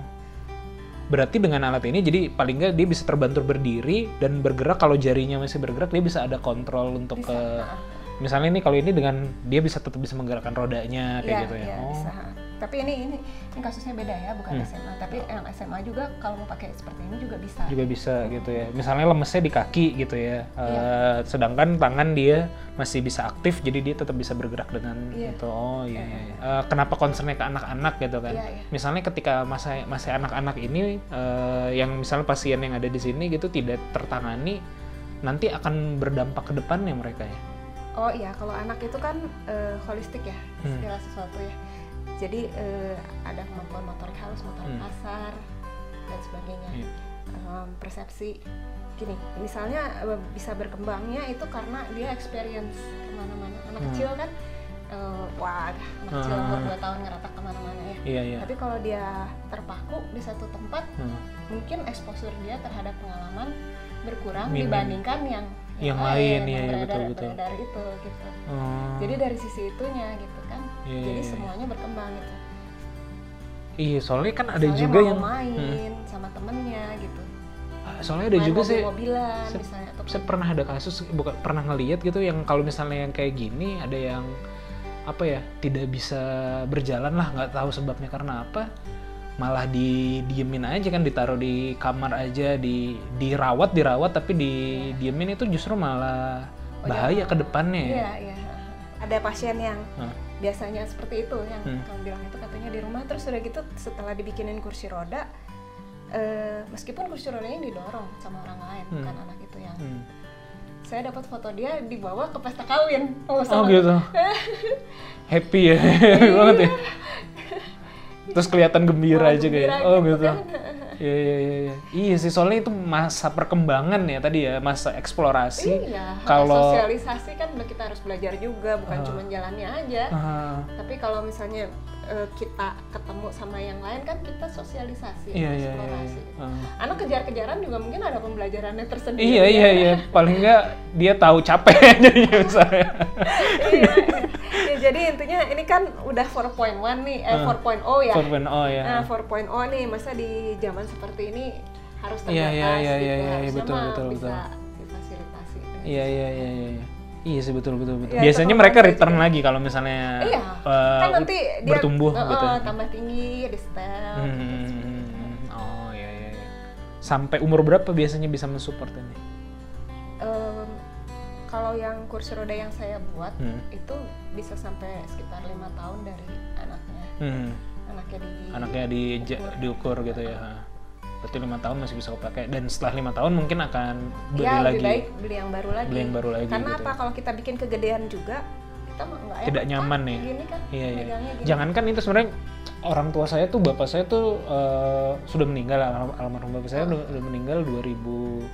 S1: Berarti dengan alat ini jadi paling nggak dia bisa terbantur berdiri dan bergerak kalau jarinya masih bergerak dia bisa ada kontrol untuk
S2: Bisa,
S1: ke
S2: ha-ha.
S1: misalnya ini kalau ini dengan dia bisa tetap bisa menggerakkan rodanya kayak
S2: Iya,
S1: gitu ya.
S2: iya,
S1: oh. Hmm.
S2: bisa, ha. Tapi ini, ini ini kasusnya beda ya, bukan SMA. Tapi yang SMA juga kalau mau pakai seperti ini juga bisa.
S1: juga bisa gitu ya. Misalnya lemesnya di kaki gitu ya.
S2: Iya.
S1: Eh, sedangkan tangan dia masih bisa aktif jadi dia tetap bisa bergerak dengan
S2: Iya.
S1: itu. Oh iya. iya. Eh, kenapa concernnya ke anak-anak gitu kan?
S2: Iya, iya.
S1: Misalnya ketika masa masih anak-anak ini eh, yang misalnya pasien yang ada di sini gitu tidak tertangani nanti akan berdampak ke depannya mereka ya.
S2: Oh iya, kalau anak itu kan eh, holistik ya,
S1: Hmm.
S2: segala sesuatu ya. Jadi eh, ada kemampuan motorik halus, motorik
S1: Hmm.
S2: kasar dan sebagainya.
S1: Iya.
S2: Em, persepsi gini, misalnya eh, bisa berkembangnya itu karena dia experience kemana-mana. Anak kecil kan, eh, wah, anak kecil umur
S1: Hmm.
S2: 2 tahun ngerata kemana-mana ya.
S1: Iya iya.
S2: Tapi kalau dia terpaku di satu tempat,
S1: Hmm.
S2: mungkin eksposur dia terhadap pengalaman berkurang
S1: Minim.
S2: dibandingkan yang eh,
S1: Yang lain, iya,
S2: yang
S1: iya,
S2: beredar,
S1: betul, betul.
S2: beredar itu gitu.
S1: Hmm.
S2: Jadi dari sisi itunya gitu kan.
S1: Iya,
S2: Jadi
S1: iya, iya.
S2: semuanya berkembang gitu.
S1: Iya, soalnya kan ada
S2: Soalnya
S1: juga
S2: mau
S1: yang Hmm.
S2: main sama temennya gitu.
S1: soalnya ada
S2: Main
S1: juga sih
S2: mobil-mobilan
S1: se-
S2: misalnya atau
S1: saya pernah ada kasus bukan pernah ngelihat gitu yang kalau misalnya yang kayak gini ada yang apa ya tidak bisa berjalan lah nggak tahu sebabnya karena apa malah didiemin aja kan ditaruh di kamar aja di dirawat dirawat tapi didiemin itu justru malah
S2: Oh,
S1: bahaya ke depannya ya.
S2: Iya, iya. Ada pasien yang
S1: Hah.
S2: biasanya seperti itu yang
S1: Hmm.
S2: kamu bilang itu katanya di rumah terus udah gitu setelah dibikinin kursi roda eh, meskipun kursi rodanya didorong sama orang lain
S1: Hmm.
S2: bukan anak itu yang
S1: Hmm.
S2: saya dapat foto dia dibawa ke pesta kawin
S1: oh
S2: oh, sama- Iya.
S1: gitu happy ya happy banget ya Terus kelihatan gembira
S2: Malah
S1: aja kayak.
S2: gembira
S1: Oh
S2: gitu
S1: gitu.
S2: kan.
S1: Iya iya iya. iya. Iya sih soalnya itu masa perkembangan ya tadi ya, masa eksplorasi.
S2: Iya,
S1: Kalau
S2: sosialisasi kan kita harus belajar juga, bukan
S1: Ah.
S2: cuma jalannya aja.
S1: Ah,
S2: Tapi kalau misalnya eh, kita ketemu sama yang lain kan kita sosialisasi,
S1: iya iya iya.
S2: eksplorasi.
S1: iya. Ah.
S2: Anak kejar-kejaran juga mungkin ada pembelajarannya tersendiri.
S1: Iya
S2: ya.
S1: iya iya, paling nggak dia tahu capek jadinya misalnya.
S2: Iya, iya. Ya, jadi intinya ini kan udah 4.1 nih,
S1: Ah.
S2: eh 4.0 ya.
S1: 4.0 ya.
S2: Nah, 4.0 nih, masa di zaman seperti ini harus terbatas
S1: Iya, iya, iya,
S2: gitu.
S1: iya, iya,
S2: Harusnya
S1: betul,
S2: mah
S1: betul,
S2: bisa difasilitasi.
S1: Iya iya iya iya. iya. Iya sih betul betul betul.
S2: Iya,
S1: Biasanya
S2: itu
S1: mereka
S2: kemarin
S1: return
S2: juga.
S1: lagi kalau misalnya
S2: Iya,
S1: eh,
S2: kan nanti dia
S1: bertumbuh
S2: eh,
S1: gitu.
S2: eh, tambah tinggi, di setel.
S1: Hmm,
S2: gitu.
S1: hmm, hmm, hmm. Oh iya iya. iya. Sampai umur berapa biasanya bisa mensupport ini?
S2: Em, kalau yang kursi roda yang saya buat
S1: Hmm.
S2: itu bisa sampai sekitar lima tahun dari anaknya.
S1: Hmm.
S2: Anaknya di
S1: Anaknya di diukur gitu ya. ha. Berarti lima tahun masih bisa pakai dan setelah lima tahun mungkin akan beli
S2: ya
S1: lagi.
S2: lebih baik beli yang baru lagi.
S1: Beli yang baru lagi
S2: Karena
S1: gitu
S2: apa?
S1: ya.
S2: Kalau kita bikin kegedean juga kita mah nggak enak.
S1: Tidak
S2: kan?
S1: nyaman ya.
S2: Gini kan.
S1: Iya iya.
S2: megangnya gini.
S1: Jangankan itu sebenarnya orang tua saya tuh bapak saya tuh eh, sudah meninggal almarhum- almarhum bapak saya udah, udah meninggal 2017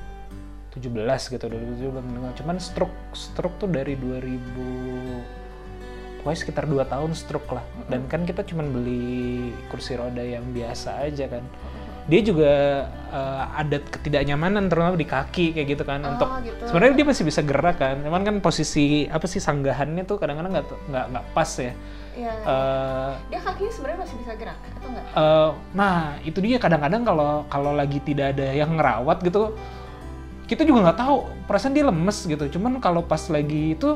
S1: gitu 2017 udah meninggal. Cuman stroke stroke tuh dari 2000 pokoknya sekitar 2 tahun stroke lah. Dan kan kita cuman beli kursi roda yang biasa aja kan. Dia juga eh, ada ketidaknyamanan terutama di kaki kayak gitu kan
S2: Oh,
S1: untuk
S2: gitu.
S1: sebenarnya dia masih bisa gerak kan. Cuman kan posisi apa sih sanggahannya tuh kadang-kadang nggak nggak nggak pas ya.
S2: Iya.
S1: Eh,
S2: dia kakinya sebenarnya masih bisa gerak atau enggak?
S1: eh, nah itu dia kadang-kadang kalau kalau lagi tidak ada yang ngerawat gitu kita juga nggak tahu perasaan dia lemes gitu cuman kalau pas lagi itu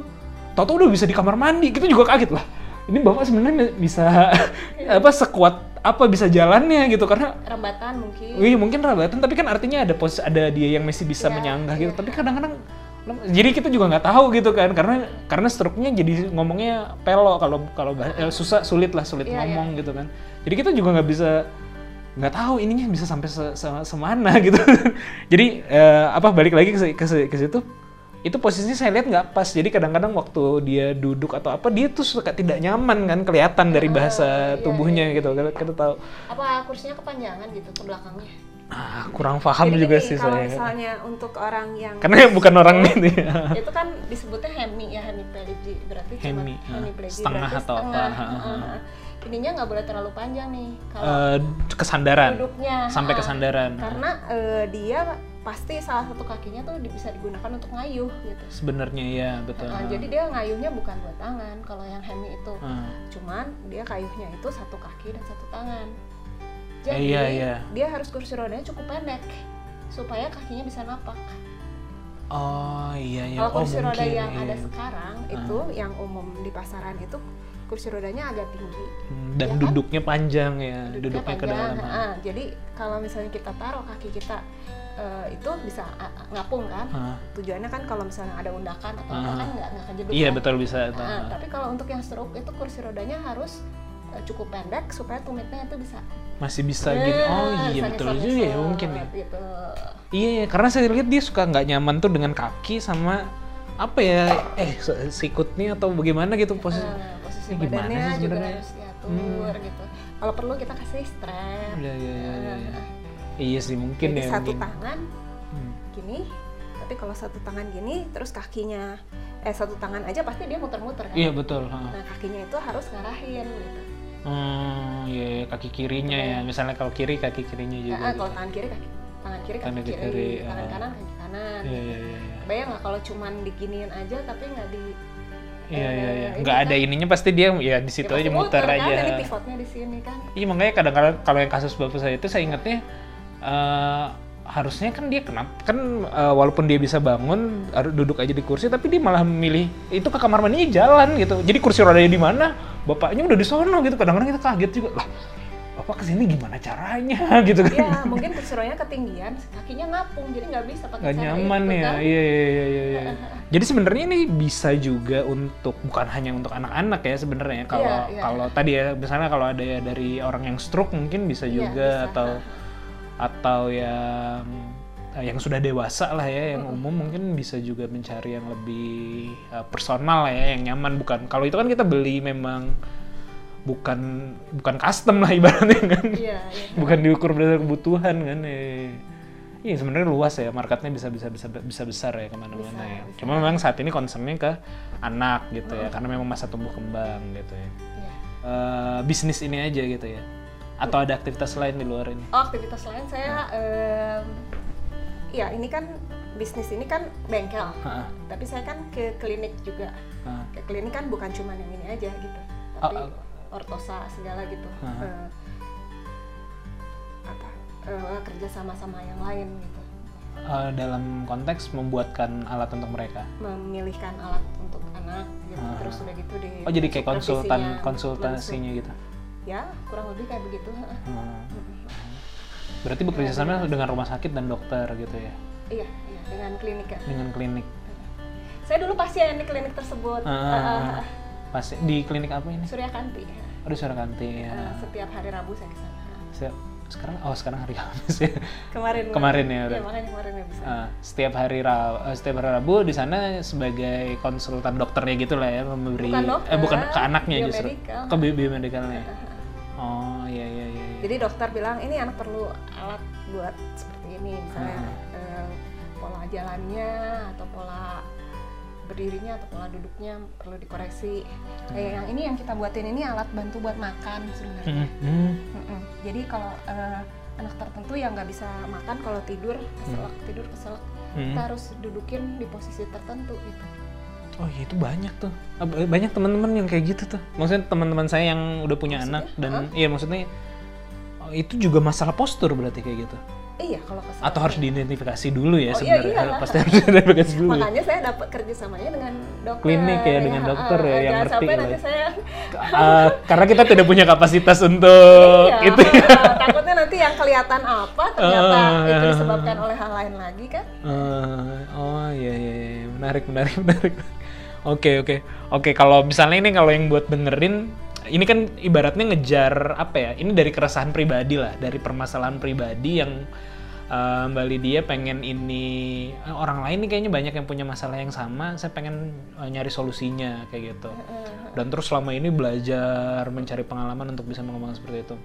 S1: Toto udah bisa di kamar mandi kita juga kaget lah ini bapak sebenarnya bisa apa sekuat apa bisa jalannya gitu karena
S2: Rambatan mungkin.
S1: Wih mungkin rabatan tapi kan artinya ada pos ada dia yang masih bisa
S2: Iya,
S1: menyanggah gitu
S2: iya.
S1: tapi kadang-kadang lem- jadi kita juga nggak tahu gitu kan karena karena struknya jadi ngomongnya pelo kalau kalau bah- eh, susah sulit lah sulit
S2: Iya,
S1: ngomong gitu kan jadi kita juga nggak bisa nggak tahu ininya bisa sampai se- se- semana gitu jadi eh, apa balik lagi ke si- ke, si- ke situ itu posisinya saya lihat nggak pas jadi kadang-kadang waktu dia duduk atau apa dia tuh suka tidak nyaman kan kelihatan dari bahasa
S2: iya,
S1: tubuhnya gitu kita, kita tahu
S2: Apa kursinya kepanjangan gitu ke belakangnya?
S1: ah kurang paham
S2: Jadi
S1: juga
S2: gini,
S1: sih
S2: kalau
S1: saya
S2: misalnya untuk orang yang Iya.
S1: karena bukan orang ini ya.
S2: itu kan disebutnya hemi ya hemiplegic berarti cuma
S1: Hemi, ah,
S2: hemiplegic,
S1: setengah
S2: berarti
S1: atau apa, ah,
S2: setengah.
S1: ha, ha, ha.
S2: Heeh. ininya nggak boleh terlalu panjang nih kalau
S1: Eh, kesandaran
S2: duduknya
S1: sampai
S2: ha.
S1: kesandaran
S2: Ah, karena eh, dia pasti salah satu kakinya tuh di- bisa digunakan untuk ngayuh gitu
S1: sebenarnya ya betul
S2: Nah, jadi dia ngayuhnya bukan buat tangan kalau yang hemi itu
S1: Ah,
S2: cuman dia kayuhnya itu satu kaki dan satu tangan
S1: Eh,
S2: jadi
S1: iya, iya.
S2: dia harus kursi rodanya cukup pendek supaya kakinya bisa napak
S1: oh iya iya
S2: Kalau
S1: oh
S2: kursi roda yang
S1: iya.
S2: ada sekarang itu yang umum di pasaran itu kursi rodanya agak tinggi.
S1: Hmm, dan
S2: ya kan?
S1: duduknya panjang ya duduknya ke dalam
S2: ah. jadi kalau misalnya kita taruh kaki kita eh, itu bisa ah, ah, ngapung kan?
S1: Ah,
S2: Tujuannya kan kalau misalnya ada undakan atau apa
S1: Ah.
S2: kan nggak nggak kejeduk.
S1: iya
S2: kan?
S1: betul bisa
S2: Ah,
S1: ah.
S2: tapi kalau untuk yang stroke itu kursi rodanya harus eh, cukup pendek supaya tumitnya itu bisa.
S1: masih bisa gini oh iya
S2: Nah,
S1: betul
S2: sangat-sangat
S1: juga ya mungkin ya
S2: sangat Gitu.
S1: iya iya, karena saya lihat dia suka nggak nyaman tuh dengan kaki sama apa ya eh se- sikutnya atau bagaimana gitu posisi
S2: Eh, posisi
S1: Ini gimana
S2: badannya
S1: sih
S2: juga
S1: sebenarnya? Hmm.
S2: harus diatur gitu. Kalau perlu kita kasih strap.
S1: Iya, iya, iya, iya, iya.
S2: Eh,
S1: iya sih mungkin
S2: Jadi
S1: ya
S2: satu
S1: mungkin.
S2: tangan
S1: Hmm.
S2: gini, tapi kalau satu tangan gini, terus kakinya, eh satu tangan aja pasti dia muter-muter kan.
S1: Iya betul. ha.
S2: Nah kakinya itu harus ngarahin gitu.
S1: Hmm, iya iya, kaki kirinya ya. Misalnya kalau kiri kaki kirinya juga.
S2: Nah, kalau
S1: gitu.
S2: tangan kiri kaki tangan kiri kaki
S1: Tangan
S2: kiri,
S1: kiri,
S2: tangan
S1: ah.
S2: kanan kaki kanan.
S1: Iya iya iya. iya.
S2: Bayang nggak kalau cuman diginiin aja tapi nggak di
S1: Iya iya iya.
S2: ini
S1: Nggak ada ininya pasti dia ya di situ
S2: ya pasti
S1: aja muter
S2: kan? Jadi
S1: aja.
S2: pivotnya di sini kan.
S1: Iya makanya kadang-kadang kalau yang kasus bapak saya itu saya ingatnya eh, harusnya kan dia kenapa kan eh, walaupun dia bisa bangun harus duduk aja di kursi tapi dia malah memilih itu ke kamar mandinya jalan gitu. Jadi kursi rodanya di mana? Bapaknya udah di sono gitu. Kadang-kadang kita kaget juga lah. Bapak kesini gimana caranya gitu kan?
S2: Ya mungkin kursironya ketinggian, kakinya ngapung jadi nggak bisa pakai
S1: nggak
S2: cara
S1: nyaman
S2: itu,
S1: ya
S2: kan.
S1: iya iya iya iya iya. jadi sebenarnya ini bisa juga untuk bukan hanya untuk anak-anak ya sebenarnya kalau
S2: iya.
S1: kalau tadi ya misalnya kalau ada ya dari orang yang stroke mungkin bisa
S2: Iya,
S1: juga
S2: bisa.
S1: atau atau yang eh, yang sudah dewasa lah ya yang umum mungkin bisa juga mencari yang lebih eh, personal lah ya yang nyaman bukan kalau itu kan kita beli memang bukan bukan custom lah ibaratnya kan
S2: Iya, iya.
S1: bukan diukur berdasarkan kebutuhan kan ya Iya sebenarnya luas ya marketnya bisa bisa bisa bisa besar ya kemana-mana
S2: Bisa,
S1: ya.
S2: bisa.
S1: Cuma memang saat ini concernnya ke anak gitu ya karena memang masa tumbuh kembang gitu ya.
S2: Iya.
S1: Eh, bisnis ini aja gitu ya. Atau ada aktivitas lain di luar ini?
S2: Oh, aktivitas lain saya em, ya ini kan bisnis ini kan bengkel.
S1: Hah.
S2: Tapi saya kan ke klinik juga.
S1: Hah.
S2: Ke klinik kan bukan cuma yang ini aja gitu.
S1: Ah,
S2: Tapi
S1: ah.
S2: ortosa segala gitu.
S1: Hah.
S2: Eh, apa? eh, kerja sama sama yang lain gitu.
S1: Eh, dalam konteks membuatkan alat untuk mereka.
S2: Memilihkan alat untuk anak gitu.
S1: Ah.
S2: Terus udah gitu di
S1: Oh jadi kayak konsultan
S2: supervisinya,
S1: konsultasinya gitu.
S2: iya. langsung. Ya, kurang lebih kayak begitu. heeh.
S1: Hmm. Berarti bekerja sama dengan rumah sakit dan dokter gitu ya,
S2: Iya, iya dengan klinik ya.
S1: dengan klinik.
S2: Saya dulu pasien di klinik tersebut.
S1: Ah,
S2: Heeh.
S1: pas di klinik apa ini?
S2: Surya Kanti. ya.
S1: Aduh suara kanti ya.
S2: Eh, Setiap hari Rabu saya ke sana.
S1: Saya, sekarang oh sekarang hari Kamis ya.
S2: Kemarin.
S1: Kemarin ya,
S2: Iya,
S1: udah.
S2: makanya kemarin nggak bisa.
S1: Ah, setiap hari Ra- eh, setiap hari Rabu di sana sebagai konsultan dokternya gitu lah ya memberi
S2: Bukan dokter,
S1: eh bukan ke anaknya justru
S2: biomedical.
S1: ke bi- biomedicalnya. Oh iya iya iya. iya.
S2: Jadi dokter bilang ini anak perlu alat buat seperti ini, misalnya
S1: Ah.
S2: eh, pola jalannya atau pola berdirinya atau pola duduknya perlu dikoreksi.
S1: Hmm.
S2: Eh, yang ini yang kita buatin ini alat bantu buat makan sebenarnya.
S1: Hmm, hmm.
S2: Mm-mm. Jadi kalau eh, anak tertentu yang nggak bisa makan kalau tidur keselak tidur keselak
S1: Hmm.
S2: kita harus dudukin di posisi tertentu gitu.
S1: Oh iya itu banyak tuh. Ah, ba- Banyak teman-teman yang kayak gitu tuh. Maksudnya teman-teman saya yang udah punya anak dan iya maksudnya oh, itu juga masalah postur berarti kayak gitu.
S2: Iya kalau keselak.
S1: Atau harus diidentifikasi dulu ya
S2: Oh, iya,
S1: sebenarnya.
S2: iyalah.
S1: Pasti harus diidentifikasi dulu. ya.
S2: Makanya saya dapat kerjasamanya dengan dokter.
S1: Klinik ya, dengan dokter ya,
S2: ah,
S1: yang
S2: jangan
S1: ngerti
S2: sampai
S1: lah.
S2: nanti saya
S1: Ah, karena kita tidak punya kapasitas untuk
S2: Iya,
S1: itu. ya.
S2: ah, takutnya nanti yang kelihatan apa ternyata
S1: Ah.
S2: itu disebabkan oleh hal lain lagi kan.
S1: Eh, oh iya iya iya. menarik menarik menarik. Oke oke oke kalau misalnya ini kalau yang buat dengerin ini kan ibaratnya ngejar apa ya? Ini dari keresahan pribadi lah, dari permasalahan pribadi yang eh, Mbak Lydia pengen ini eh, orang lain nih kayaknya banyak yang punya masalah yang sama. Saya pengen eh, nyari solusinya kayak gitu. Dan terus selama ini belajar mencari pengalaman untuk bisa mengembangkan seperti itu.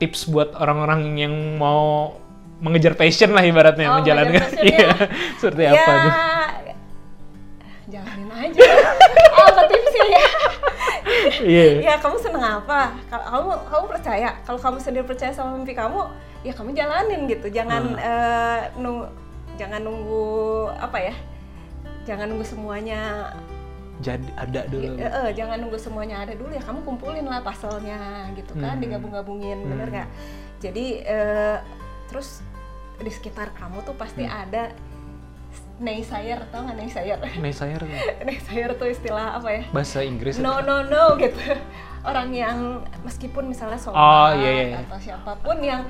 S1: Tips buat orang-orang yang mau mengejar passion lah ibaratnya
S2: Oh,
S1: menjalankan
S2: mengejar passionnya.
S1: iya seperti apa tuh
S2: Ya, jalanin aja. apa tipsnya ya?
S1: iya
S2: Ya kamu seneng apa? Kalau kamu kamu percaya, kalau kamu sendiri percaya sama mimpi kamu, ya kamu jalanin gitu. Jangan
S1: Hmm.
S2: eh, nung- jangan nunggu apa ya? Jangan nunggu semuanya
S1: jadi ada dulu
S2: Eh, eh, jangan nunggu semuanya ada dulu ya kamu kumpulin lah paselnya gitu
S1: Hmm.
S2: kan digabung-gabungin bener nggak jadi eh, terus di sekitar kamu tuh pasti
S1: Hmm.
S2: ada naysayer tau nggak naysayer
S1: Nah, saya harus-
S2: naysayer tuh istilah apa ya
S1: bahasa Inggris
S2: no no no gitu orang yang meskipun misalnya soal
S1: Oh, iya, iya, iya.
S2: atau siapapun yang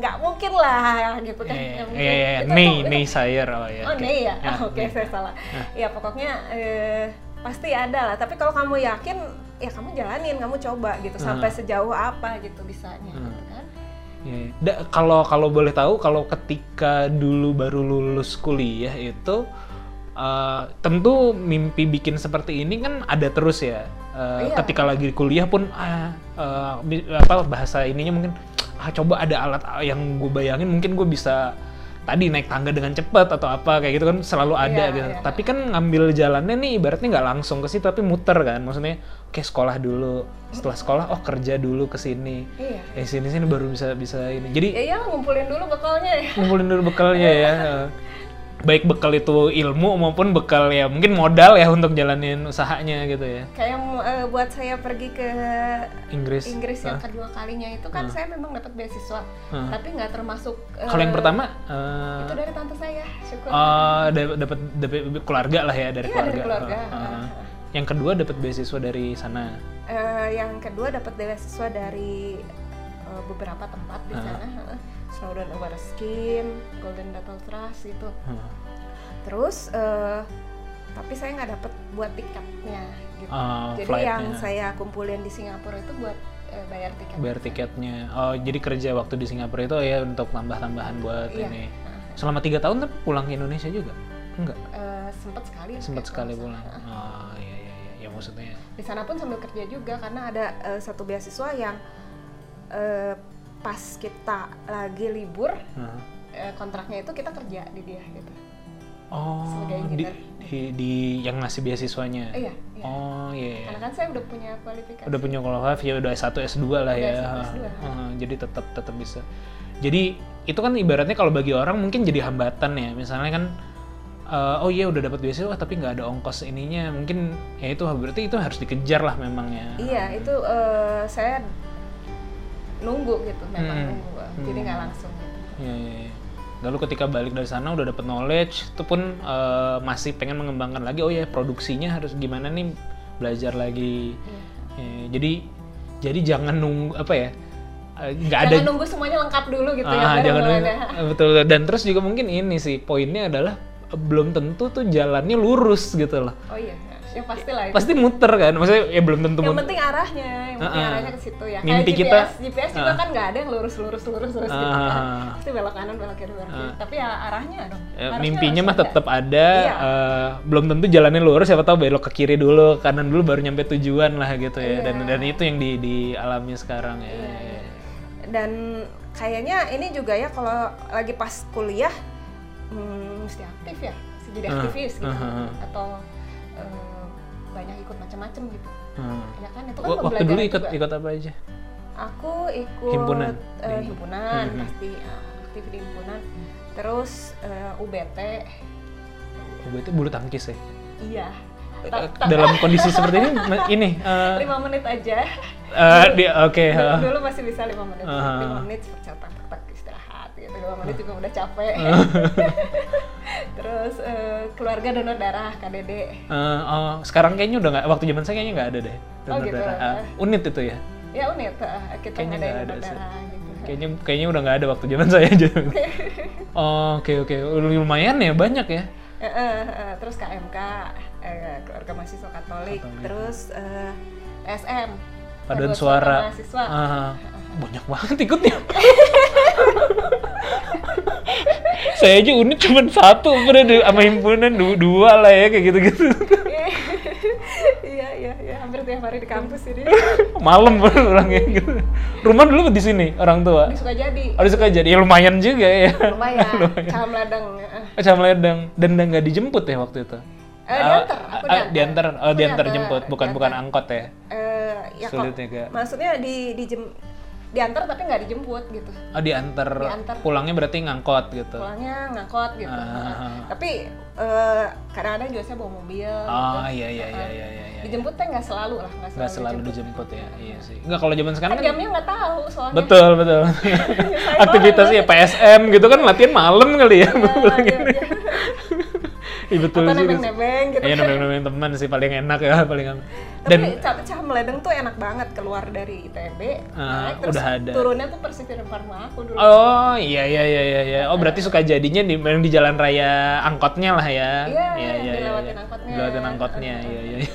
S2: nggak mungkin lah gitu kan
S1: Iya,
S2: nggak
S1: iya,
S2: mungkin.
S1: iya,
S2: Itu tuh-
S1: Nay,
S2: itu
S1: Nay Sayer, oh ya.
S2: Oh,
S1: oke.
S2: Nei ya?
S1: Ya,
S2: Ah, Oke,
S1: Nay.
S2: saya salah. Ya, pokoknya eh, pasti ada lah. Tapi kalau kamu yakin, ya kamu jalanin, kamu coba gitu.
S1: Nah.
S2: Sampai sejauh apa gitu bisanya
S1: Hmm.
S2: gitu kan.
S1: Iya, iya. Da- Kalau kalau boleh tahu, kalau ketika dulu baru lulus kuliah itu eh, tentu mimpi bikin seperti ini kan ada terus ya. Eh,
S2: Iya.
S1: Ketika lagi kuliah pun ah, eh, bi- apa bahasa ininya mungkin ah, coba ada alat yang gue bayangin mungkin gue bisa tadi naik tangga dengan cepat atau apa kayak gitu kan selalu ada
S2: Iya,
S1: gitu.
S2: iya.
S1: Tapi kan ngambil jalannya nih ibaratnya nggak langsung ke situ tapi muter kan. Maksudnya oke sekolah dulu, setelah sekolah oh kerja dulu ke sini
S2: Iya.
S1: eh sini sini baru bisa bisa ini jadi
S2: Ya iyalah, ngumpulin dulu bekalnya ya.
S1: ngumpulin dulu bekalnya ya Eh, baik bekal itu ilmu maupun bekal ya mungkin modal ya untuk jalanin usahanya gitu ya
S2: Kayak eh, buat saya pergi ke
S1: Inggris,
S2: Inggris
S1: Hah?
S2: yang kedua kalinya itu kan saya memang dapat beasiswa,
S1: Hah.
S2: tapi nggak termasuk eh,
S1: kalau yang pertama eh,
S2: itu dari tante saya, syukur.
S1: eh, da- dapat dapat keluarga lah ya dari
S2: Iya, dari
S1: keluarga,
S2: keluarga. ah.
S1: Eh, eh, eh. yang kedua dapat beasiswa dari sana
S2: Eh, yang kedua dapat beasiswa dari eh, beberapa tempat di sana, heeh. Snowdon Skin, Golden Battle Trust gitu.
S1: Hah.
S2: Terus eh, tapi saya nggak dapat buat tiketnya gitu.
S1: Ah,
S2: Jadi
S1: flightnya.
S2: yang saya kumpulin di Singapura itu buat eh, bayar tiket.
S1: bayar tiketnya oh jadi kerja waktu di Singapura itu ya untuk tambah tambahan buat
S2: Iya.
S1: ini selama tiga tahun tapi pulang ke Indonesia juga enggak
S2: Eh, sempet sekali.
S1: sempat
S2: kayak
S1: sekali
S2: kalau
S1: pulang. Oh iya iya iya. Ya maksudnya
S2: di sana pun sambil kerja juga karena ada eh, satu beasiswa yang eh, pas kita lagi libur
S1: Hah.
S2: eh, kontraknya itu kita kerja di dia gitu
S1: oh
S2: Sebagai
S1: di,
S2: engineer.
S1: di- di- yang ngasih beasiswanya
S2: Eh, iya, iya.
S1: oh iya iya.
S2: karena kan saya udah punya kualifikasi
S1: udah punya kualifikasi ya udah S1 S2 lah
S2: Udah
S1: ya
S2: S1, S2.
S1: Heeh, jadi tetap tetap bisa jadi itu kan ibaratnya kalau bagi orang mungkin jadi hambatan ya misalnya kan eh, oh iya udah dapat beasiswa tapi nggak ada ongkos ininya mungkin ya itu berarti itu harus dikejar lah memang ya
S2: iya itu eh, saya nunggu gitu memang
S1: Hmm.
S2: nunggu jadi nggak langsung gitu.
S1: Iya, iya, iya. lalu ketika balik dari sana udah dapat knowledge itu pun eh, masih pengen mengembangkan lagi oh ya produksinya harus gimana nih belajar lagi
S2: Iya.
S1: Eh, jadi jadi jangan nunggu apa ya eh, nggak ada
S2: jangan nunggu semuanya lengkap dulu gitu ya
S1: Ah,
S2: baru
S1: jangan
S2: mulai
S1: dulu.
S2: deh.
S1: Eh, betul dan terus juga mungkin ini sih poinnya adalah eh, belum tentu tuh jalannya lurus gitu loh
S2: oh iya ya pastilah itu
S1: pasti muter kan maksudnya ya belum tentu
S2: yang
S1: mut-
S2: penting arahnya yang penting
S1: Ah, ah.
S2: arahnya ke situ ya
S1: Mimpi
S2: kayak
S1: kita-
S2: GPS GPS juga kan nggak ada yang lurus lurus lurus lurus gitu
S1: Ah,
S2: kan
S1: ah, ah.
S2: pasti belok kanan belok kiri belok kiri tapi ya arahnya dong
S1: Eh,
S2: Harusnya
S1: mimpinya mah
S2: langsung ada.
S1: tetap ada
S2: Iya.
S1: eh, belum tentu jalannya lurus siapa tahu belok ke kiri dulu kanan dulu baru nyampe tujuan lah gitu ya dan
S2: Iya.
S1: dan itu yang di dialami sekarang ya
S2: dan kayaknya ini juga ya kalau lagi pas kuliah hmm, mesti aktif ya mesti jadi
S1: Ah,
S2: aktivis gitu
S1: ah, ah, ah.
S2: atau eh, banyak ikut macam-macam gitu
S1: Hmm.
S2: ya kan itu kan
S1: Wa- waktu
S2: pembelajaran
S1: dulu ikut
S2: juga.
S1: ikut apa aja
S2: aku ikut
S1: Himpunan.
S2: eh, himpunan
S1: Mhm.
S2: pasti ya, aktif di himpunan terus eh, UBT
S1: gue Oh, itu bulu tangkis ya
S2: iya
S1: Eh,
S2: Ta- ta-
S1: dalam kondisi seperti ini me- ini eh,
S2: lima menit aja
S1: eh, di- oke
S2: dulu,
S1: eh.
S2: dulu masih bisa lima menit
S1: Ah.
S2: lima menit percatan tak tak istirahat gitu lima menit juga udah capek terus eh, keluarga donor darah KDD
S1: Eh, oh, sekarang kayaknya udah nggak waktu zaman saya kayaknya nggak ada deh donor
S2: gitu.
S1: darah. Ah, unit itu ya
S2: ya unit eh, kita
S1: Kayaknya
S2: ngadain
S1: nggak ada
S2: donor
S1: sih.
S2: darah gitu
S1: kayaknya kayaknya udah nggak ada waktu zaman saya aja Oh, oke oke lumayan ya banyak ya
S2: Eh, eh, eh, terus KMK eh, keluarga mahasiswa Katolik,
S1: Katolik.
S2: terus eh, SM
S1: paduan suara
S2: mahasiswa
S1: Ah, banyak banget ikutnya saya aja unit cuma satu udah sama himpunan du- dua lah ya kayak gitu gitu
S2: iya iya iya hampir tiap hari di kampus ini
S1: malam baru pulangnya gitu rumah dulu di sini orang tua
S2: suka jadi
S1: harus suka jadi ya lumayan juga ya
S2: lumayan calon ladang eh.
S1: Macam ledeng dan dan nggak dijemput ya waktu itu
S2: Eh, diantar, aku
S1: Ah, ah, diantar oh
S2: Aku
S1: diantar
S2: diantar,
S1: jemput bukan bukan angkot ya
S2: Eh, ya kok-
S1: Sulitnya kayak-
S2: maksudnya di di jem- diantar tapi nggak dijemput gitu
S1: oh diantar,
S2: Diantar.
S1: pulangnya berarti ngangkot gitu
S2: pulangnya ngangkot gitu
S1: Ah.
S2: tapi eh, kadang-kadang juga saya bawa mobil gitu.
S1: oh iya iya iya iya iya, iya
S2: dijemput teh nggak selalu lah nggak
S1: nggak
S2: selalu,
S1: selalu dijemput ya iya sih nggak kalau zaman
S2: Kan
S1: sekarang kan
S2: jamnya nggak tahu soalnya
S1: betul betul aktivitas ya PSM gitu kan latihan malam kali ya pulang
S2: Iya,
S1: ini
S2: iya.
S1: Iya, betul
S2: atau
S1: juga sih
S2: nebeng-nebeng gitu
S1: Iya nemenin teman sih paling enak ya paling enak.
S2: tapi
S1: dan
S2: cah, cah meledeng tuh enak banget keluar dari ITB
S1: Ah,
S2: naik terus
S1: udah ada.
S2: turunnya tuh persis di depan rumah aku dulu
S1: Oh iya iya iya iya, iya. Oh berarti suka jadinya di memang di jalan raya angkotnya lah ya.
S2: Iya, dilewatin angkotnya.
S1: Dilewatin angkotnya. Iya iya. iya.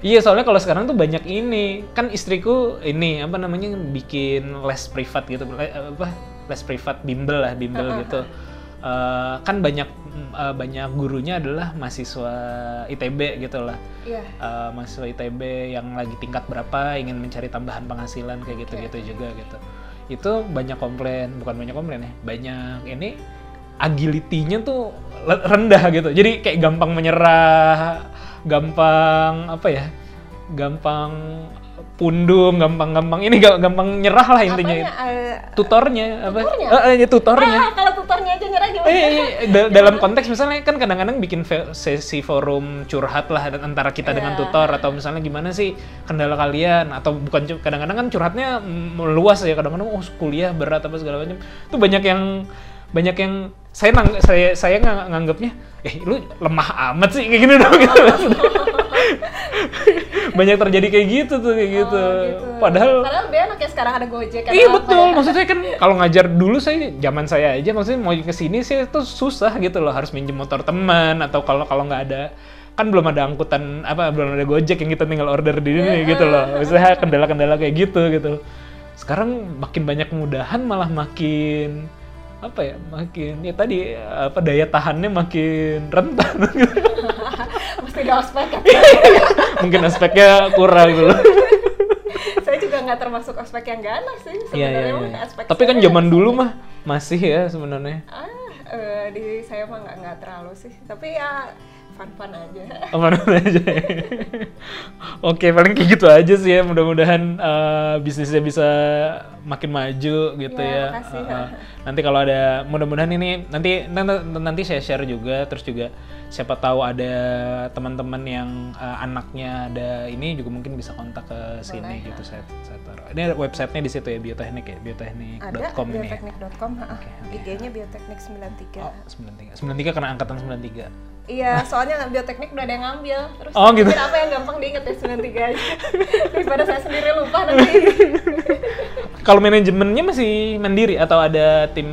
S1: Iya soalnya kalau sekarang tuh banyak ini. Kan istriku ini apa namanya bikin les privat gitu. Le- apa? Les privat bimbel lah, bimbel gitu. Eh, kan banyak eh, banyak gurunya adalah mahasiswa ITB gitu lah.
S2: iya
S1: Eh, mahasiswa ITB yang lagi tingkat berapa ingin mencari tambahan penghasilan kayak gitu-gitu
S2: Iya.
S1: juga gitu. Itu banyak komplain, bukan banyak komplain ya, banyak ini agility-nya tuh le- rendah gitu. Jadi kayak gampang menyerah, gampang apa ya? Gampang pundung, gampang-gampang ini ga- gampang nyerah lah intinya.
S2: Apanya, eh,
S1: Tutornya apa?
S2: Tutornya?
S1: Eh, eh, tutornya.
S2: ah, kalau tutornya aja nyerah
S1: Eh,
S2: gimana
S1: iya, iya. Da- dalam konteks misalnya kan kadang-kadang bikin fe- sesi forum curhat lah dan antara kita dengan
S2: Iya.
S1: tutor atau misalnya gimana sih kendala kalian atau bukan cu- kadang-kadang kan curhatnya meluas ya kadang-kadang oh kuliah berat apa segala macam itu banyak yang banyak yang saya nang saya saya ngang- nganggapnya eh lu lemah amat sih kayak gini dong gitu. banyak terjadi kayak gitu tuh kayak gitu.
S2: gitu.
S1: padahal
S2: padahal dia anak ya sekarang ada gojek kan
S1: Iya betul, maksudnya kan kalau ngajar dulu saya zaman saya aja maksudnya mau ke sini sih itu susah gitu loh harus minjem motor teman atau kalau kalau nggak ada kan belum ada angkutan apa belum ada Gojek yang kita tinggal order di sini gitu loh. Misalnya kendala-kendala kayak gitu gitu. Sekarang makin banyak kemudahan malah makin apa ya makin ya tadi apa daya tahannya makin rentan gitu.
S2: mesti di ospek kan
S1: mungkin aspeknya kurang gitu dulu.
S2: saya juga nggak termasuk aspek yang ganas sih
S1: Iya, iya,
S2: sebenarnya mah
S1: iya.
S2: aspek
S1: Tapi kan
S2: saya-
S1: zaman dulu mah masih ya sebenarnya.
S2: ah eh, di saya mah nggak nggak terlalu sih tapi ya fun fun aja
S1: Aman aja. ya. Oke, paling kayak gitu aja sih ya. Mudah-mudahan eh, bisnisnya bisa makin maju gitu
S2: Ya,
S1: ya.
S2: makasih.
S1: Eh, eh, nanti kalau ada mudah-mudahan ini nanti nanti, nanti saya share juga terus juga siapa tahu ada teman-teman yang eh, anaknya ada ini juga mungkin bisa kontak ke sini
S2: Boleh. ya.
S1: gitu saya, saya taruh. Ini ada websitenya di situ ya bioteknik ya,
S2: ada
S1: bioteknik.com ini ya.
S2: bioteknik.com ah.
S1: Oke, oke.
S2: IG-nya bioteknik 93
S1: Oh, 93. 93 karena angkatan 93.
S2: Iya, soalnya bioteknik udah ada yang ngambil. Terus
S1: Oh,
S2: saya
S1: gitu.
S2: pikir apa yang gampang diinget ya 93 aja. Daripada saya sendiri lupa nanti.
S1: Kalau manajemennya masih mandiri atau ada tim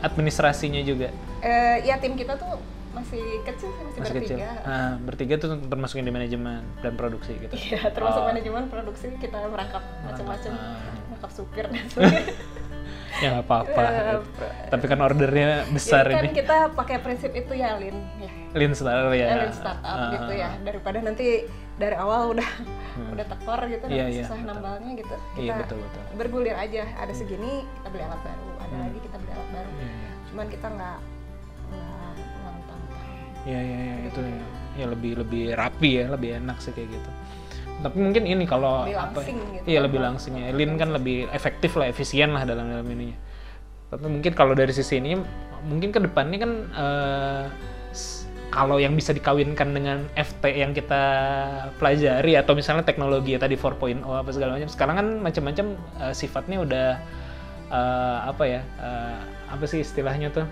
S1: administrasinya juga?
S2: Eh, ya tim kita tuh masih kecil sih, masih,
S1: Masih kecil.
S2: bertiga.
S1: Ah, bertiga tuh termasukin di manajemen dan produksi gitu.
S2: Iya, termasuk
S1: Oh.
S2: manajemen produksi kita merangkap macam-macam,
S1: ah.
S2: merangkap supir dan sebagainya.
S1: Ya nggak apa-apa.
S2: Eh,
S1: Tapi kan ordernya besar
S2: Jadi kan
S1: ini.
S2: kita pakai prinsip itu ya, Lin. Ya.
S1: Lean startup ya.
S2: Eh, Lean startup
S1: Ah,
S2: gitu ya. Daripada nanti dari awal udah udah tekor gitu,
S1: Hmm. Iya, iya,
S2: susah
S1: betul.
S2: nambalnya gitu. Kita
S1: Iya betul betul. Hmm.
S2: bergulir aja. Ada segini kita beli alat baru, ada lagi kita beli alat baru.
S1: Iya, iya.
S2: cuman kita nggak nggak mentang-mentang.
S1: Iya iya iya, itu ya. Ya lebih lebih rapi ya, lebih enak sih kayak gitu. Tapi mungkin ini kalau
S2: Lebih
S1: apa?
S2: langsing gitu.
S1: Iya lebih langsing ya. Lean kan lebih efektif lah, efisien lah dalam dalam ininya. Tapi mungkin kalau dari sisi ini, mungkin ke depannya kan eh, s- kalau yang bisa dikawinkan dengan FT yang kita pelajari atau misalnya teknologi ya tadi 4.0 apa segala macam. Sekarang kan macam-macam eh, sifatnya udah eh, apa ya? eh, apa sih istilahnya tuh?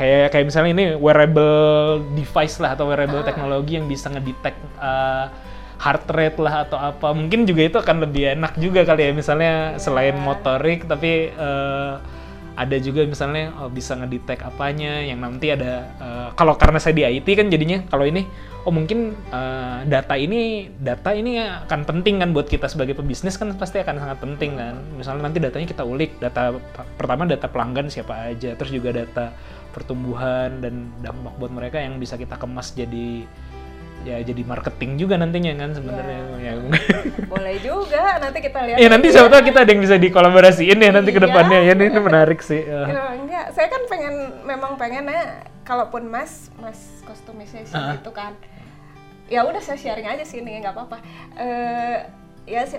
S1: Kayak kayak misalnya ini wearable device lah atau wearable teknologi yang bisa ngedetect eh, heart rate lah atau apa mungkin juga itu akan lebih enak juga kali ya misalnya selain motorik tapi eh, ada juga misalnya oh, bisa ngedetect apanya yang nanti ada eh, kalau karena saya di IT kan jadinya kalau ini oh mungkin eh, data ini data ini akan penting kan buat kita sebagai pebisnis kan pasti akan sangat penting kan misalnya nanti datanya kita ulik data pertama data pelanggan siapa aja terus juga data pertumbuhan dan dampak buat mereka yang bisa kita kemas jadi ya jadi marketing juga nantinya kan sebenarnya ya.
S2: Boleh juga nanti kita lihat.
S1: ya nanti siapa tahu kita ada yang bisa dikolaborasiin ya nanti ke
S2: Iya.
S1: depannya ya ini, ini menarik sih Eh,
S2: Ya, enggak, saya kan pengen memang pengennya kalaupun Mas Mas kostumisnya sih
S1: Ah.
S2: gitu kan. Ya udah saya sharing aja sih ini nggak apa-apa. Eh ya sih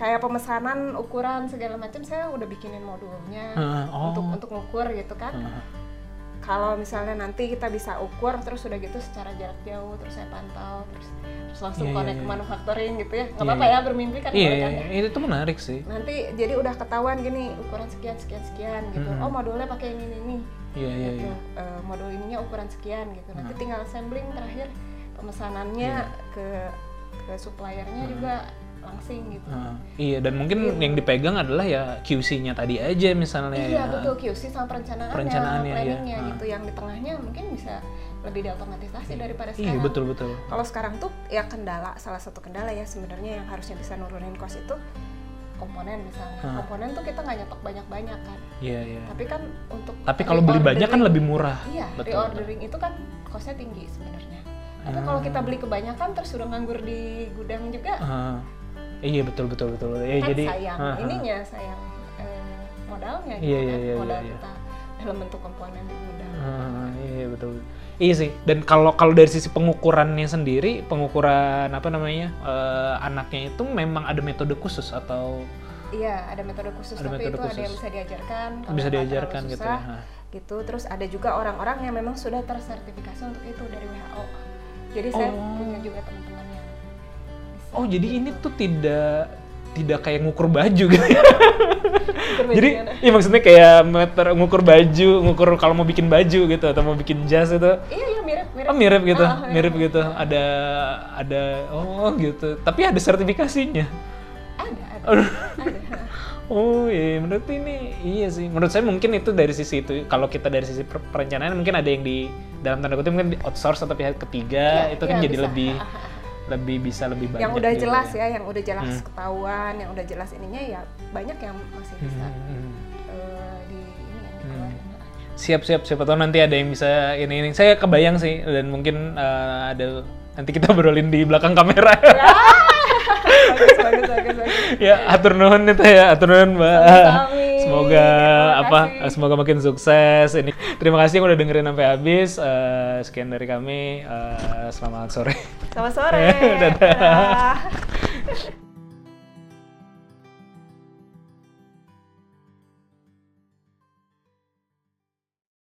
S2: kayak pemesanan ukuran segala macam saya udah bikinin modulnya
S1: Ah, oh.
S2: untuk untuk ngukur gitu kan.
S1: Ah.
S2: kalau misalnya nanti kita bisa ukur terus udah gitu secara jarak jauh terus saya pantau terus, terus langsung
S1: Iya, iya,
S2: connect
S1: iya.
S2: ke manufacturing gitu ya nggak
S1: Iya,
S2: apa-apa
S1: iya.
S2: ya bermimpi kan
S1: iya
S2: boleh
S1: iya
S2: kan ya.
S1: itu tuh menarik sih
S2: nanti jadi udah ketahuan gini ukuran sekian sekian sekian gitu
S1: Mm-mm.
S2: oh modulnya pakai ini ini ini
S1: iya Mm-hmm. iya Mm-hmm.
S2: gitu.
S1: iya
S2: Eh, modul ininya ukuran sekian gitu nanti tinggal sampling terakhir pemesanannya
S1: Iya.
S2: ke ke suppliernya
S1: Mm-hmm.
S2: juga langsing gitu
S1: Ah, iya dan mungkin yang dipegang adalah ya QC-nya tadi aja misalnya ya.
S2: Iya betul QC sama perencanaannya,
S1: Perencanaannya, iya.
S2: planningnya
S1: Ah.
S2: gitu yang di tengahnya mungkin bisa lebih diotomatisasi daripada
S1: iya
S2: sekarang.
S1: betul betul
S2: Kalau sekarang tuh ya kendala, salah satu kendala ya sebenarnya yang harusnya bisa nurunin cost itu komponen misalnya.
S1: Hah.
S2: Komponen tuh kita nggak nyetok banyak-banyak kan.
S1: iya iya
S2: Tapi kan untuk
S1: tapi kalau beli banyak kan
S2: reordering-
S1: lebih murah
S2: Iya,
S1: betul, betul. Ah.
S2: reordering itu kan costnya tinggi sebenarnya. Tapi kalau kita beli kebanyakan terus udah nganggur di gudang juga
S1: Ah, iya betul betul betul ya
S2: kan
S1: jadi
S2: sayang
S1: ah, ah.
S2: ininya sayang eh, modalnya gitu
S1: Iya, iya,
S2: kan.
S1: iya,
S2: modal
S1: iya, iya.
S2: kita dalam bentuk komponen di gudang.
S1: Ah, iya betul. Iya sih. Dan kalau kalau dari sisi pengukurannya sendiri, pengukuran apa namanya eh, anaknya itu memang ada metode khusus atau
S2: Iya, ada metode khusus
S1: Ada
S2: tapi
S1: metode
S2: itu ada yang
S1: khusus.
S2: bisa diajarkan. kalau
S1: bisa
S2: nggak terlalu
S1: diajarkan gitu
S2: susah.
S1: ya? Hah.
S2: gitu terus ada juga orang-orang yang memang sudah tersertifikasi untuk itu dari WHO jadi saya
S1: Oh.
S2: punya juga teman-teman yang bisa
S1: Oh
S2: gitu.
S1: jadi ini tuh tidak tidak kayak ngukur baju gitu. ya?
S2: Berbeda
S1: jadi
S2: dengan-
S1: iya maksudnya kayak meter ngukur baju, ngukur kalau mau bikin baju gitu atau mau bikin jas itu.
S2: iya iya mirip mirip
S1: Oh mirip gitu,
S2: Ah, ah,
S1: mirip gitu. Ada ada oh gitu. Tapi ada sertifikasinya.
S2: ada ada ada
S1: Oh iya, menurut ini iya sih. Menurut saya mungkin itu dari sisi itu. Kalau kita dari sisi per- perencanaan mungkin ada yang di dalam tanda kutip mungkin di outsource atau pihak ketiga
S2: Iya,
S1: itu kan
S2: iya,
S1: jadi
S2: bisa.
S1: lebih lebih bisa lebih banyak.
S2: yang udah
S1: juga
S2: jelas
S1: ya.
S2: ya yang udah jelas ketahuan yang udah jelas ininya ya banyak yang masih ya, bisa
S1: Hmm.
S2: eh, di ini yang dikeluarin.
S1: Siap siap siapa tahu nanti ada yang bisa ini ini. Saya kebayang sih dan mungkin eh, ada Nanti kita berolin di belakang kamera.
S2: Iya. bagus bagus bagus bagus
S1: ya, atur nuhun itu ya, atur nuhun Mbak.
S2: Sami-sami.
S1: Semoga
S2: Terima
S1: apa?
S2: kasih.
S1: Semoga makin sukses ini. Terima kasih yang udah dengerin sampai habis. Eh, sekian dari kami. Eh, selamat sore.
S2: selamat sore
S1: Dadah.
S2: Dadah.